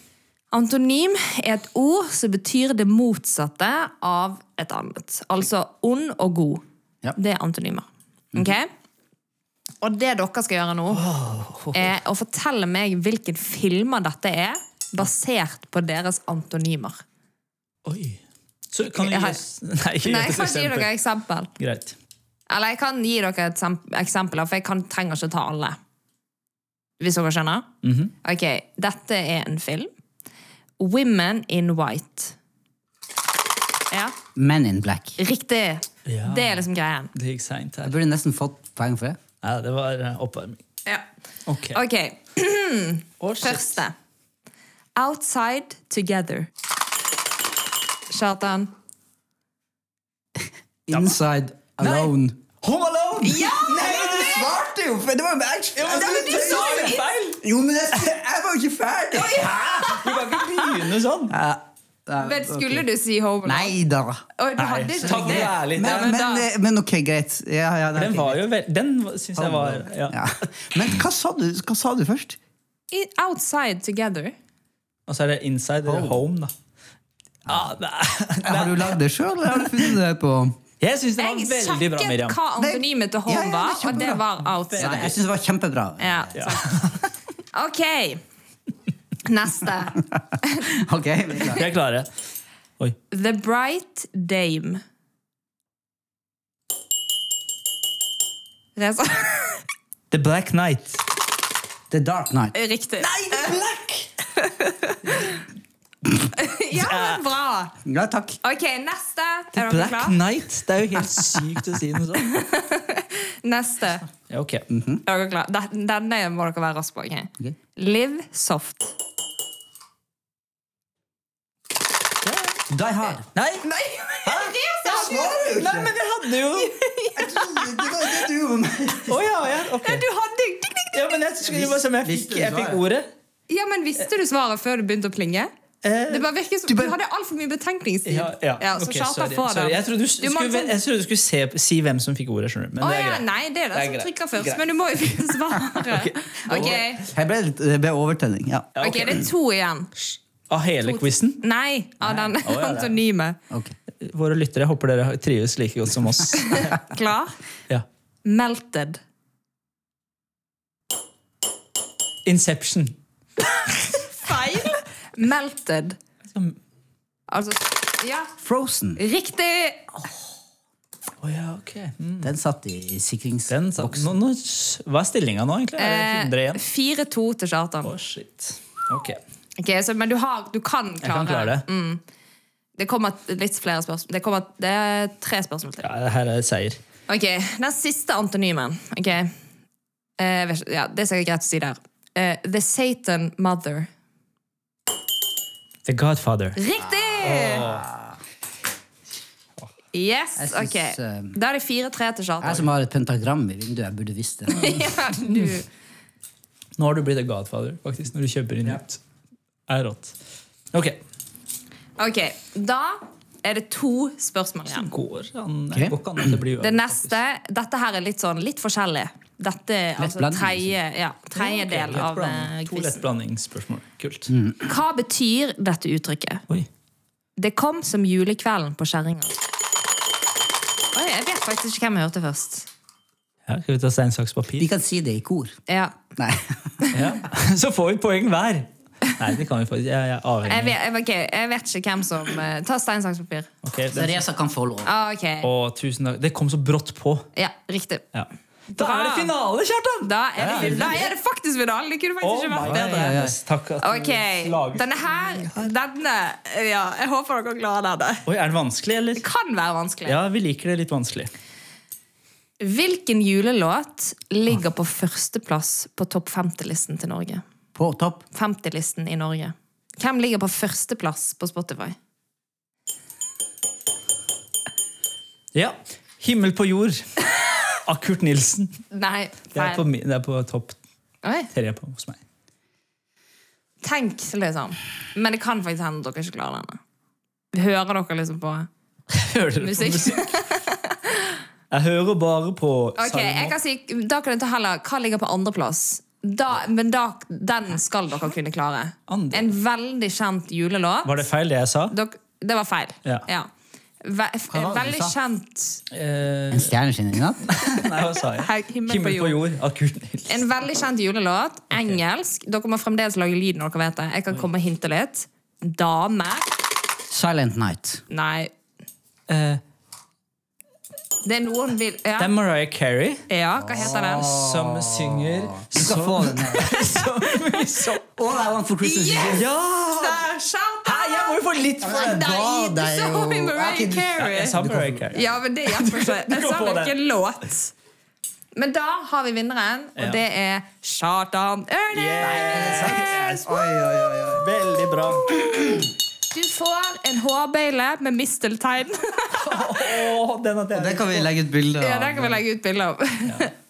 Speaker 3: Antonym er et ord som betyr det motsatte av et annet. Altså ond og god.
Speaker 1: Ja.
Speaker 3: Det er antonymer. Ok? Og det dere skal gjøre nå, er å fortelle meg hvilken filmer dette er, basert på deres antonymer.
Speaker 2: Oi. Så kan du
Speaker 3: Jeg
Speaker 2: gi
Speaker 3: har-
Speaker 2: oss <laughs> Nei, ikke gi
Speaker 3: Nei, jeg
Speaker 2: oss
Speaker 3: kan ikke gi dere et
Speaker 2: eksempel.
Speaker 3: eksempel.
Speaker 2: Greit.
Speaker 3: Eller jeg kan gi dere et sem- eksempel, for jeg kan, trenger ikke ta alle. Hvis dere skjønner?
Speaker 2: Mhm.
Speaker 3: Ok, dette er en film. Women in White. Ja,
Speaker 1: Men in black.
Speaker 3: riktig.
Speaker 2: Ja.
Speaker 3: Det er liksom greien.
Speaker 2: Det gikk seint
Speaker 1: Jeg
Speaker 2: her.
Speaker 1: burde nesten fått poeng for det.
Speaker 2: Nei, det var eh, oppvarming. Ok.
Speaker 3: Ok, <clears throat>
Speaker 2: Å, shit.
Speaker 3: første. Outside Together. Kjartan.
Speaker 1: Inside Alone.
Speaker 2: Home Alone!
Speaker 1: Nei, du svarte jo! For det var jo
Speaker 2: Ja, men du- du sa jo feil!
Speaker 1: Jo, men jeg, jeg var jo ikke ferdig!
Speaker 2: Du kan ikke begynne sånn.
Speaker 3: Men skulle du si Home Alone?
Speaker 1: Nei da.
Speaker 3: Oi, du hadde
Speaker 2: Nei,
Speaker 3: ikke
Speaker 2: ta det ærlig.
Speaker 1: Men,
Speaker 3: Ja, men
Speaker 1: men,
Speaker 3: da-
Speaker 1: eh, men ok, greit. Ja, ja, det er ok,
Speaker 2: Den var
Speaker 1: greit.
Speaker 2: jo vel- Den syns jeg var ja.
Speaker 1: Ja. Men hva sa, du, hva sa du først?
Speaker 3: I- Outside Together.
Speaker 2: Og så er det Inside eller Home, da. Ja, det-
Speaker 1: Har du lagd det sjøl, eller har du funnet det på
Speaker 2: jeg syns den
Speaker 3: Jeg
Speaker 2: var veldig bra,
Speaker 3: sjekket
Speaker 2: Miriam.
Speaker 3: hva antonymet
Speaker 1: Ja,
Speaker 3: til
Speaker 1: ja,
Speaker 3: Home
Speaker 1: det er
Speaker 3: var, og det
Speaker 1: kjempebra.
Speaker 3: var Outside.
Speaker 1: Jeg syns det var kjempebra.
Speaker 3: Ja, sant. <laughs> Ok. Neste.
Speaker 1: Ok, vi er klare.
Speaker 2: Vi er klare. Oi.
Speaker 3: The Bright Dame. Det er så
Speaker 2: The Black Knight.
Speaker 1: The Dark Night.
Speaker 3: <laughs> Riktig. Nei, det er black! ja, men bra.
Speaker 1: Ja, takk.
Speaker 3: Ok, neste. Er dere
Speaker 2: Black
Speaker 3: klare?
Speaker 2: Knight? Det er jo helt sykt å si noe sånt.
Speaker 3: Neste.
Speaker 2: Ja, ok.
Speaker 3: Er dere klar? Den- Denne må dere være raske på. ok?
Speaker 1: Ok.
Speaker 3: Live soft.
Speaker 1: Die Hard.
Speaker 2: Nei,
Speaker 3: Nei,
Speaker 1: svarer jo
Speaker 2: Nei, men jeg hadde jo
Speaker 1: Det var det du gjorde med meg.
Speaker 2: Å ja, ja, ok.
Speaker 3: du hadde ding, ding, ding.
Speaker 2: Ja, men jeg skulle bare se om jeg fikk, jeg fikk ordet.
Speaker 3: Ja, men Visste du svaret før det begynte å plinge? Det bare virker som, du, hadde altfor mye betenkningstid.
Speaker 2: Eh, Ja, ja.
Speaker 3: så
Speaker 2: Ok,
Speaker 3: Kjartan
Speaker 2: sorry,
Speaker 3: får
Speaker 2: sorry.
Speaker 3: den.
Speaker 2: Jeg trodde du, s-
Speaker 3: må
Speaker 2: skulle,
Speaker 3: liksom-
Speaker 2: jeg trodde du skulle se, si hvem som fikk ordet. skjønner du Men
Speaker 3: Å
Speaker 2: det er
Speaker 3: ja,
Speaker 2: greit.
Speaker 3: nei, det er det,
Speaker 2: Det er
Speaker 3: som
Speaker 2: greit.
Speaker 3: trykker først.
Speaker 2: Greit.
Speaker 3: Men du må
Speaker 2: <laughs>
Speaker 3: jo finne svaret. Ok,
Speaker 1: Jeg ble, litt- det ble overtenning. Ja.
Speaker 2: Ja,
Speaker 3: ok,
Speaker 2: ok.
Speaker 3: det er to igjen.
Speaker 2: Av hele quizen?
Speaker 3: Nei, av den
Speaker 2: Å, ja, det er-
Speaker 3: antonyme.
Speaker 1: Ok.
Speaker 2: Våre lyttere, jeg håper dere trives like godt som oss.
Speaker 3: <laughs> Klar?
Speaker 2: Ja.
Speaker 3: Melted.
Speaker 2: Inception.
Speaker 3: Feil? Melted.
Speaker 2: Som-
Speaker 3: Altså Ja,
Speaker 1: Frozen.
Speaker 3: riktig!
Speaker 2: Å ja, ok. Mm.
Speaker 1: Den satt i
Speaker 2: Den satt-
Speaker 1: sikringsboksen.
Speaker 2: nå, nå, s- hva er stillinga nå, egentlig? Er det 100
Speaker 3: Eh,
Speaker 2: igjen?
Speaker 3: 4-2 til Kjartan.
Speaker 2: Å, shit. Ok, jeg
Speaker 3: Ok, så, Men du, har, du kan klare
Speaker 2: kan klare det.
Speaker 3: Mm. Det kommer litt flere spørsmål. Det, kommer, det er tre spørsmål til.
Speaker 2: Ja, det her er seier.
Speaker 3: Ok, Den siste antonymen. Ok. Eh, jeg vet ikke- ja, det er sikkert greit å si der. Eh, the Satan Mother.
Speaker 2: The Godfather.
Speaker 3: Riktig!
Speaker 1: Jeg
Speaker 3: Yes,
Speaker 1: syns,
Speaker 3: ok.
Speaker 1: eh,
Speaker 3: Da er det 4-3 til
Speaker 1: Jeg
Speaker 3: Charter. <laughs>
Speaker 1: som har et pentagram i vinduet, jeg burde visst det.
Speaker 3: Ja, du.
Speaker 2: Nå har du blitt The Godfather, faktisk, når du kjøper inn nytt. Det er rått. Ok.
Speaker 3: Ok, da er det to spørsmål igjen.
Speaker 2: Det går an.
Speaker 1: Ok.
Speaker 2: Det går ikke an at det blir
Speaker 3: Det neste, Dette her er litt sånn litt forskjellig. Dette er altså
Speaker 1: blanding,
Speaker 3: tredje, ja, tredje
Speaker 2: Ja, liksom. ok,
Speaker 3: del
Speaker 2: lett
Speaker 3: av
Speaker 2: blanding.
Speaker 3: eh,
Speaker 2: To
Speaker 3: quizen.
Speaker 2: lettblandingsspørsmål. Kult.
Speaker 3: Hva betyr dette uttrykket?
Speaker 2: Oi.
Speaker 3: Det kom som julekvelden på Kjerringa. Oi, Jeg vet faktisk ikke hvem jeg hørte først.
Speaker 2: Ja, skal vi ta stein, saks,
Speaker 1: Vi
Speaker 2: papir?
Speaker 1: kan si det i kor.
Speaker 3: Ja.
Speaker 1: Nei.
Speaker 2: Ja. <laughs> Så får vi poeng hver! Nei, det kan vi faktisk. Jeg, jeg er avhengig.
Speaker 3: Jeg vet, jeg, ok, jeg vet ikke hvem som eh, Ta stein, saks, papir.
Speaker 2: Ok, den-
Speaker 1: Theresa kan få lov.
Speaker 3: Ah, ok.
Speaker 2: Å, tusen takk. Det kom så brått på.
Speaker 3: Ja, riktig.
Speaker 2: Ja. Da er det finale, Kjartan!
Speaker 3: Da er det, da er det faktisk finalen! Det kunne
Speaker 2: Oh
Speaker 3: faktisk ikke
Speaker 2: my
Speaker 3: vært bedre.
Speaker 2: goodness. Takk at
Speaker 3: Ok,
Speaker 2: du slaget.
Speaker 3: Denne her Denne Ja, jeg håper dere er glad av det.
Speaker 2: Oi, er det vanskelig, eller?
Speaker 3: Kan være vanskelig.
Speaker 2: Ja, vi liker det litt vanskelig.
Speaker 3: Hvilken julelåt ligger på førsteplass på topp 50-listen til Norge?
Speaker 1: På topp.
Speaker 3: 50-listen i Norge. Hvem ligger på førsteplass på Spotify?
Speaker 2: Ja. 'Himmel på
Speaker 3: <laughs>
Speaker 2: jord' av Kurt Nilsen.
Speaker 3: Nei,
Speaker 2: Det er på,
Speaker 3: feil.
Speaker 2: mi- det er på topp
Speaker 3: Oi,
Speaker 2: tre på, hos
Speaker 3: <laughs>
Speaker 2: meg.
Speaker 3: tenk, liksom. Men det kan faktisk hende at dere ikke klarer denne. Hører dere liksom på
Speaker 2: Hører du på
Speaker 3: musikk?
Speaker 2: musikk? Jeg hører bare på
Speaker 3: Ok, jeg kan si, Da kan jeg ta heller hva ligger på andreplass. Da, men da, den skal dere kunne klare.
Speaker 2: Andre.
Speaker 3: En veldig kjent julelåt.
Speaker 2: Var det feil, det jeg
Speaker 3: <laughs>
Speaker 2: sa?
Speaker 3: Dere, det var feil.
Speaker 2: Ja.
Speaker 3: Ve, en
Speaker 1: var det du
Speaker 3: veldig
Speaker 1: sa?
Speaker 3: kjent
Speaker 2: Eh,
Speaker 1: En stjerne skinner i natt.
Speaker 2: nei, hva sa jeg?
Speaker 3: Hei,
Speaker 2: 'Himmel, på jord' av Kurt Nilsen.
Speaker 3: En veldig kjent julelåt. Engelsk. Dere må fremdeles lage lyd når dere vet det. Jeg kan komme og hinte litt. Dame.
Speaker 1: Silent Night.
Speaker 3: Nei.
Speaker 2: Eh,
Speaker 3: Det er noen vil Ja,
Speaker 2: det er Mariah Carey
Speaker 3: ja hva heter den?
Speaker 2: som synger
Speaker 1: Du skal få den her.
Speaker 2: <laughs> så mye sånn.
Speaker 1: All I want for Christmas is you.
Speaker 2: Ja!
Speaker 3: Der, shout
Speaker 2: Nei, jeg må jo få litt for den!
Speaker 1: Nei,
Speaker 3: Nei,
Speaker 1: det
Speaker 3: du
Speaker 1: er
Speaker 3: sa
Speaker 1: jo-
Speaker 3: vi Mariah
Speaker 1: Ok, du-
Speaker 3: Carey.
Speaker 2: Jeg sa Mariah Carey.
Speaker 3: Ja, men
Speaker 2: <laughs>
Speaker 3: det hjelper ikke.
Speaker 2: Du kan
Speaker 3: Jeg sa
Speaker 2: få
Speaker 3: jo
Speaker 2: det.
Speaker 3: ikke låt. Men da har vi vinneren, og
Speaker 2: Ja.
Speaker 3: det er Kjartan Ørnes!
Speaker 2: Yes!
Speaker 1: Oi, oi, oi, oi.
Speaker 2: Veldig bra.
Speaker 3: <laughs> Du får en hårbøyle med misteltein.
Speaker 2: Åh, den at jeg-
Speaker 1: Det kan vi legge ut bilde av.
Speaker 3: Ja, der kan vi legge ut bilde av.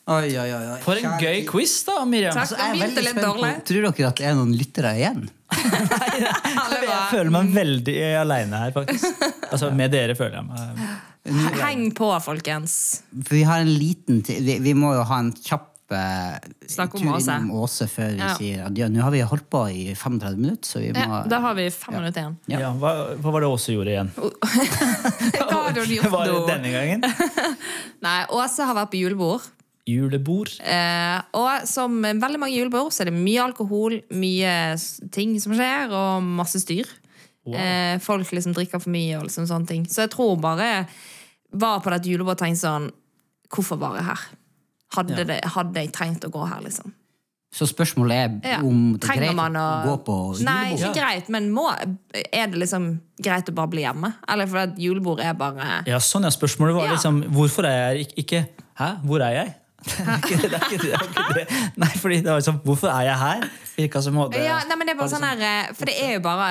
Speaker 1: Oi, oi, oi, oi.
Speaker 2: For en
Speaker 1: Kjære-
Speaker 2: gøy quiz, da, Miriam.
Speaker 3: Takk.
Speaker 1: Altså, jeg er
Speaker 3: Den begynte
Speaker 1: veldig
Speaker 3: litt
Speaker 1: spent på,
Speaker 3: dårlig.
Speaker 1: Tror dere at det er noen lyttere igjen?
Speaker 3: <laughs> Alle
Speaker 2: Jeg
Speaker 3: bare,
Speaker 2: føler meg veldig aleine her,
Speaker 3: <laughs>
Speaker 2: faktisk. Altså, Med dere føler jeg meg
Speaker 3: Heng på, folkens.
Speaker 1: For vi har en liten til. Vi, vi må jo ha en kjapp eh,
Speaker 3: Snakk om
Speaker 1: tur
Speaker 3: Åse.
Speaker 1: innom Åse før vi
Speaker 3: Ja.
Speaker 1: sier adjø. Nå har vi holdt på i 35 minutter, så vi må
Speaker 3: Ja, da har vi fem minutter igjen.
Speaker 1: Ja.
Speaker 2: ja, hva, hva var det Åse gjorde igjen?
Speaker 3: Hva
Speaker 2: <laughs>
Speaker 3: har du gjort
Speaker 2: Var det
Speaker 3: nå?
Speaker 2: denne gangen?
Speaker 3: <laughs> Nei, Åse har vært på julebord.
Speaker 2: Julebord.
Speaker 3: Eh, og som veldig mange julebord så er det mye alkohol, mye s- ting som skjer, og masse styr. Eh, folk liksom drikker for mye og liksom sånne ting. Så jeg tror bare jeg var på dette julebordet og tenkte sånn Hvorfor var jeg her? Hadde, det, hadde jeg trengt å gå her, liksom?
Speaker 1: Så spørsmålet er
Speaker 3: Ja.
Speaker 1: om det er
Speaker 3: Trenger
Speaker 1: greit
Speaker 3: man å
Speaker 1: gå på
Speaker 3: Nei,
Speaker 1: julebord.
Speaker 3: ikke greit, men må, er det liksom greit å bare bli hjemme? Eller for at julebord er bare
Speaker 2: Ja, sånn ja. Spørsmålet var
Speaker 3: Ja.
Speaker 2: liksom hvorfor er jeg ikke, ikke Hæ, hvor er jeg? <laughs> Det er ikke det. det, er ikke det, det, er ikke det. Nei, fordi det var liksom Hvorfor er jeg her? Virka som hadde
Speaker 3: Ja, nei, men det er bare sånn her eh, For det er jo bare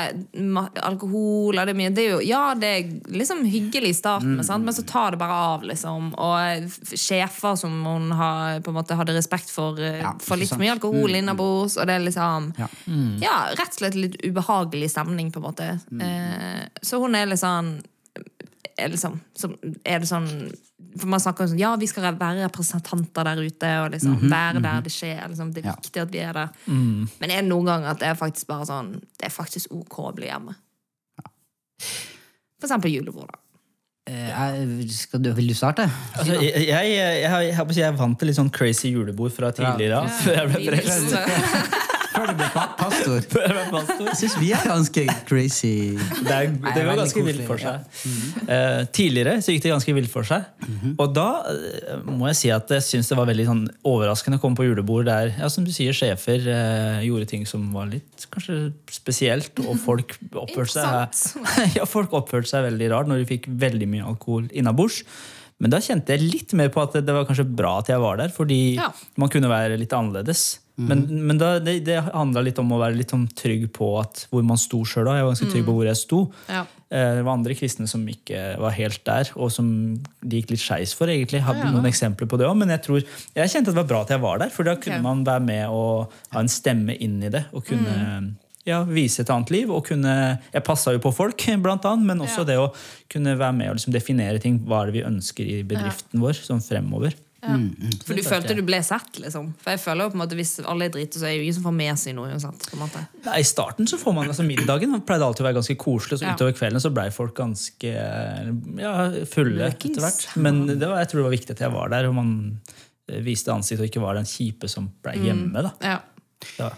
Speaker 3: ma- alkohol og det er mye det er jo, Ja, det er liksom hyggelig i starten, sant? men så tar det bare av, liksom. Og f- sjefer som hun har, på en måte hadde respekt for, eh,
Speaker 1: Ja,
Speaker 3: for
Speaker 1: ikke
Speaker 3: litt
Speaker 1: sant. Mm,
Speaker 3: for mye alkohol innabords, og det er liksom
Speaker 1: Ja. Mm.
Speaker 3: ja. rett og slett litt ubehagelig stemning, på en måte. Eh, så hun er litt sånn er liksom, som, er det sånn For man snakker jo sånn Ja, vi skal være representanter der ute, og liksom være der det skjer. Liksom, det
Speaker 1: Mhm,
Speaker 3: er
Speaker 1: Ja. Mm.
Speaker 3: viktig at vi er der. Men er det noen ganger at det er faktisk bare sånn Det er faktisk OK å bli hjemme. For eksempel julebord,
Speaker 1: <laughs>
Speaker 3: da.
Speaker 1: Eh, jeg- Skal du, vil du starte?
Speaker 2: Altså, jeg, jeg, jeg, jeg, jeg, har- jeg, har på å si, jeg er vant til litt sånn crazy julebord fra tidligere av. Før jeg ble frelst.
Speaker 1: Før du ble pa- pastor.
Speaker 2: Før jeg ble pastor.
Speaker 1: Jeg syns vi er ganske crazy.
Speaker 2: Det, er,
Speaker 1: Nei,
Speaker 2: det går
Speaker 1: veldig
Speaker 2: ganske
Speaker 1: koselig,
Speaker 2: vilt for
Speaker 1: ja.
Speaker 2: seg. Mhm. Eh, tidligere så gikk det ganske vilt for seg. Og da eh, må jeg si at jeg syns det var veldig sånn, overraskende å komme på julebord der ja, som du sier, sjefer eh, gjorde ting som var litt kanskje spesielt, og folk oppførte seg <laughs> ja, folk oppførte seg veldig rart når de fikk veldig mye alkohol innabords. Men da kjente jeg litt mer på at det var kanskje bra at jeg var der, fordi
Speaker 3: Ja.
Speaker 2: man kunne være litt annerledes. Men, men da, det, det handla litt om å være litt sånn trygg på at hvor man sto sjøl. Jeg var ganske trygg på hvor jeg sto.
Speaker 3: Ja.
Speaker 2: Eh, Det var andre kristne som ikke var helt der, og som de gikk litt skeis for. egentlig. Jeg hadde noen eksempler på det også, men jeg, tror, jeg kjente at det var bra at jeg var der, for da kunne
Speaker 3: Ok.
Speaker 2: man være med og ha en stemme inn i det. og kunne...
Speaker 3: Mm.
Speaker 2: Ja, Vise et annet liv. og kunne, Jeg passa jo på folk, <laughs> blant annet, men også
Speaker 3: Ja.
Speaker 2: det å kunne være med og liksom definere ting. Hva er det vi ønsker i bedriften vår sånn fremover?
Speaker 3: For du følte du ble sett, liksom. For jeg føler jo på en måte hvis alle er drite, så er det jo ingen som får med seg noe. uansett, på en måte.
Speaker 2: Nei, I starten så får man altså middagen man pleide alltid å være ganske koselig, og så
Speaker 3: Ja.
Speaker 2: utover kvelden så blei folk ganske ja, fulle
Speaker 3: Møkings.
Speaker 2: etter hvert. Men det var, jeg tror det var viktig at jeg var der, og man eh, viste ansikt og ikke var den kjipe som blei
Speaker 1: Mm.
Speaker 2: hjemme. da.
Speaker 3: Ja.
Speaker 2: Ja.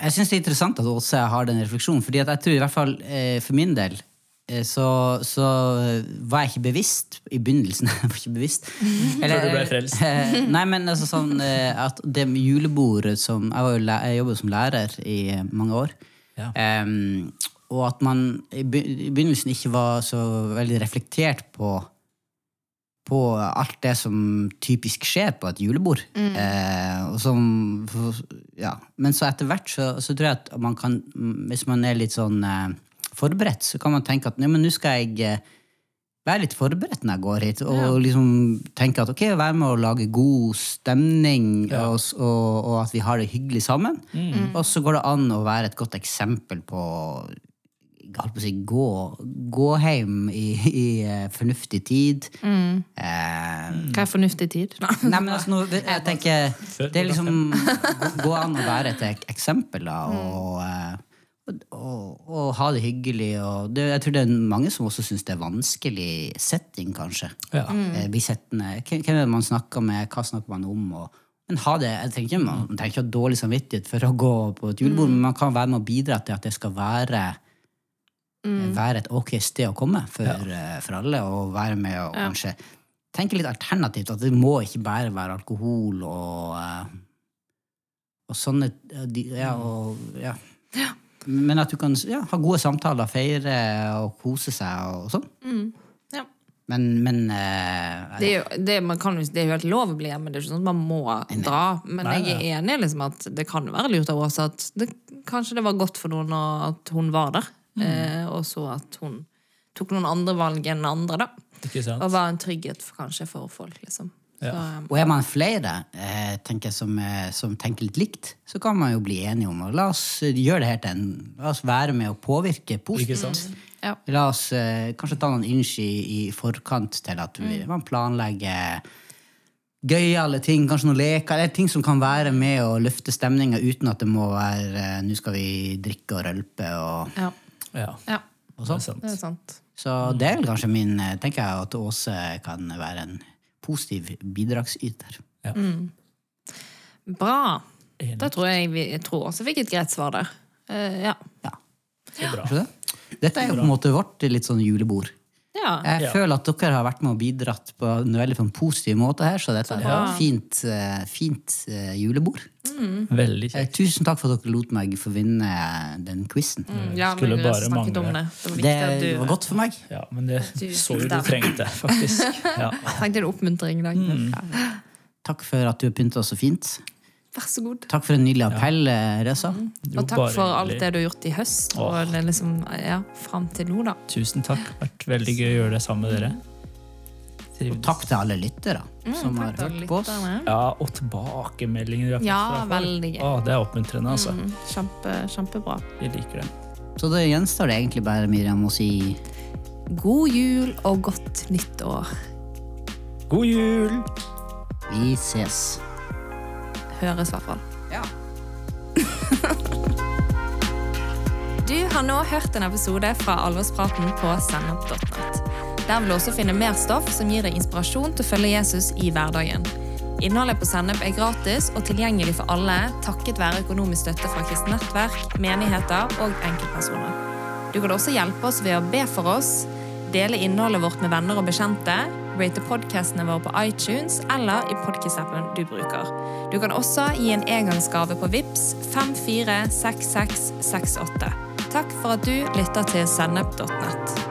Speaker 1: Jeg synes det er interessant at Åse har den refleksjonen, fordi at jeg tror i hvert fall eh, for min del eh, så, så var jeg ikke bevisst i begynnelsen. <laughs> jeg var ikke bevisst.
Speaker 2: Før Mm. du ble frelst.
Speaker 1: Eh, nei, men altså sånn eh, at det med julebordet som Jeg, var jo læ- jeg jobbet som lærer i eh, mange år.
Speaker 2: Ja.
Speaker 1: Em, og at man i be- i begynnelsen ikke var så veldig reflektert på på alt det som typisk skjer på et julebord. Eh, og som, ja. Men så etter hvert så, så tror jeg at man kan, hvis man er litt sånn eh, forberedt, så kan man tenke at «Nei, men nå skal jeg eh, være litt forberedt når jeg går hit, og liksom tenke at ok, være med å lage god stemning, og, s- og, og at vi har det hyggelig sammen.
Speaker 2: mm.
Speaker 1: Og så går det an å være et godt eksempel på jeg holdt på å si, gå, gå hjem i, i eh, fornuftig tid. Eh,
Speaker 3: Mm. Hva er fornuftig tid?
Speaker 1: nei, men altså, nå, jeg tenker, det er liksom gå an å være et ek- eksempel, da, og, eh, og, og, og ha det hyggelig. Og det, jeg tror det er mange som også syns det er vanskelig setting, kanskje.
Speaker 2: Ja.
Speaker 1: Eh, Bli sittende. Hvem hvem er det man snakker med, hva snakker man om? Og, men ha det, jeg tenker, Man man trenger ikke ha dårlig samvittighet for å gå på et julebord, men man kan være med og bidra til at det skal være
Speaker 3: Mm.
Speaker 1: være et ok sted å komme for, eh, for alle, og være med og kanskje tenke litt alternativt. At det må ikke bare være alkohol og, eh, og sånne eh, de- ja, og, ja. Men at du kan ja, ha gode samtaler, feire og kose seg og sånn.
Speaker 3: Mm. Ja.
Speaker 1: Men, men eh,
Speaker 3: Det er, jo, det, man kan, jo- det er jo helt lov å bli hjemme, det er ikke sånn at man må dra. Men jeg er enig i liksom, at det kan være lurt av Åse Mm. at det, kanskje det var godt for noen å- at hun var der. Eh, og så at hun tok noen andre valg enn andre, da.
Speaker 2: Ikke sant?
Speaker 3: Og var en trygghet for, kanskje for folk, liksom. Så, um,
Speaker 1: Og er man flere eh, tenker jeg, som, eh, som tenker litt likt, så kan man jo bli enige om og La oss eh, gjøre det her til en La oss være med å påvirke
Speaker 2: Ikke
Speaker 1: positivt.
Speaker 2: sant?
Speaker 3: ja.
Speaker 1: La oss eh, kanskje ta noen inch i, i forkant til at vi, man planlegger gøyale ting, kanskje noen leker, eller ting som kan være med å løfte stemninga uten at det må være eh, 'nå skal vi drikke og rølpe' og,
Speaker 3: Ja.
Speaker 2: Ja.
Speaker 3: ja.
Speaker 1: og
Speaker 2: Det er
Speaker 1: sånn.
Speaker 2: sant.
Speaker 3: Det er sant.
Speaker 1: Så det er vel kanskje min eh, Tenker jeg at Åse kan være en positiv bidragsyter.
Speaker 2: Ja.
Speaker 3: Bra.
Speaker 2: Enig.
Speaker 3: Da tror jeg vi jeg tror også fikk et greit svar der. Eh, ja.
Speaker 1: Ja.
Speaker 2: Så bra.
Speaker 1: Kanskje det? Dette er jo på en måte vårt litt sånn julebord.
Speaker 3: ja.
Speaker 1: Jeg
Speaker 2: Ja.
Speaker 1: føler at dere har vært med og bidratt på en veldig på en positiv måte her, så dette er
Speaker 3: bra.
Speaker 1: et fint, eh, fint eh, julebord.
Speaker 2: Veldig
Speaker 1: Eh,
Speaker 2: kjekt.
Speaker 1: Tusen takk for at dere lot meg få vinne den quizen.
Speaker 3: Mm, ja,
Speaker 2: Skulle
Speaker 3: men vi har
Speaker 2: bare
Speaker 3: snakket om
Speaker 2: mangle.
Speaker 3: det. Det var viktig
Speaker 1: Det
Speaker 3: at du
Speaker 1: var godt for meg.
Speaker 2: Ja, men det
Speaker 3: Du-
Speaker 2: så jo du
Speaker 3: der.
Speaker 2: trengte,
Speaker 1: <laughs>
Speaker 2: faktisk. Ja.
Speaker 3: trengte en oppmuntring i dag.
Speaker 2: Mm.
Speaker 3: Ja.
Speaker 1: Takk for at du pynta så fint.
Speaker 3: Vær så god.
Speaker 1: Takk for en nydelig appell, eh, Reza.
Speaker 2: Jo,
Speaker 3: Og takk
Speaker 2: bare
Speaker 3: for alt
Speaker 2: hyggelig.
Speaker 3: det du har gjort i høst, og
Speaker 2: Åh.
Speaker 3: det liksom, ja, fram til nå, da.
Speaker 2: Tusen takk. Det har vært veldig gøy å gjøre det sammen med dere. Trivdes.
Speaker 1: Takk til alle lyttere som har
Speaker 3: Mm, Takk til
Speaker 1: hørt på oss.
Speaker 3: lytterne.
Speaker 2: Ja, og tilbakemeldinger. vi har fått
Speaker 3: Ja,
Speaker 2: fra folk.
Speaker 3: veldig gøy.
Speaker 2: Å, det er oppmuntrende, altså.
Speaker 1: Mm.
Speaker 3: Kjempe, kjempebra.
Speaker 2: Vi liker det.
Speaker 1: Så det gjenstår det egentlig bare Miriam å si
Speaker 3: God jul og godt nytt år.
Speaker 2: God jul!
Speaker 1: vi ses.
Speaker 3: Høres i hvert fall. <laughs> Du har nå hørt en episode fra Alvorspraten på sennep.net. Der vil du også finne mer stoff som gir deg inspirasjon til å følge Jesus i hverdagen. Innholdet på Sennep er gratis og tilgjengelig for alle takket være økonomisk støtte fra kristent nettverk, menigheter og enkeltpersoner. Du kan også hjelpe oss ved å be for oss, dele innholdet vårt med venner og bekjente, rate podcastene våre på iTunes eller i podcast-appen du bruker. Du kan også gi en engangsgave på VIPS 546668. Takk for at du lytter til sennep.net.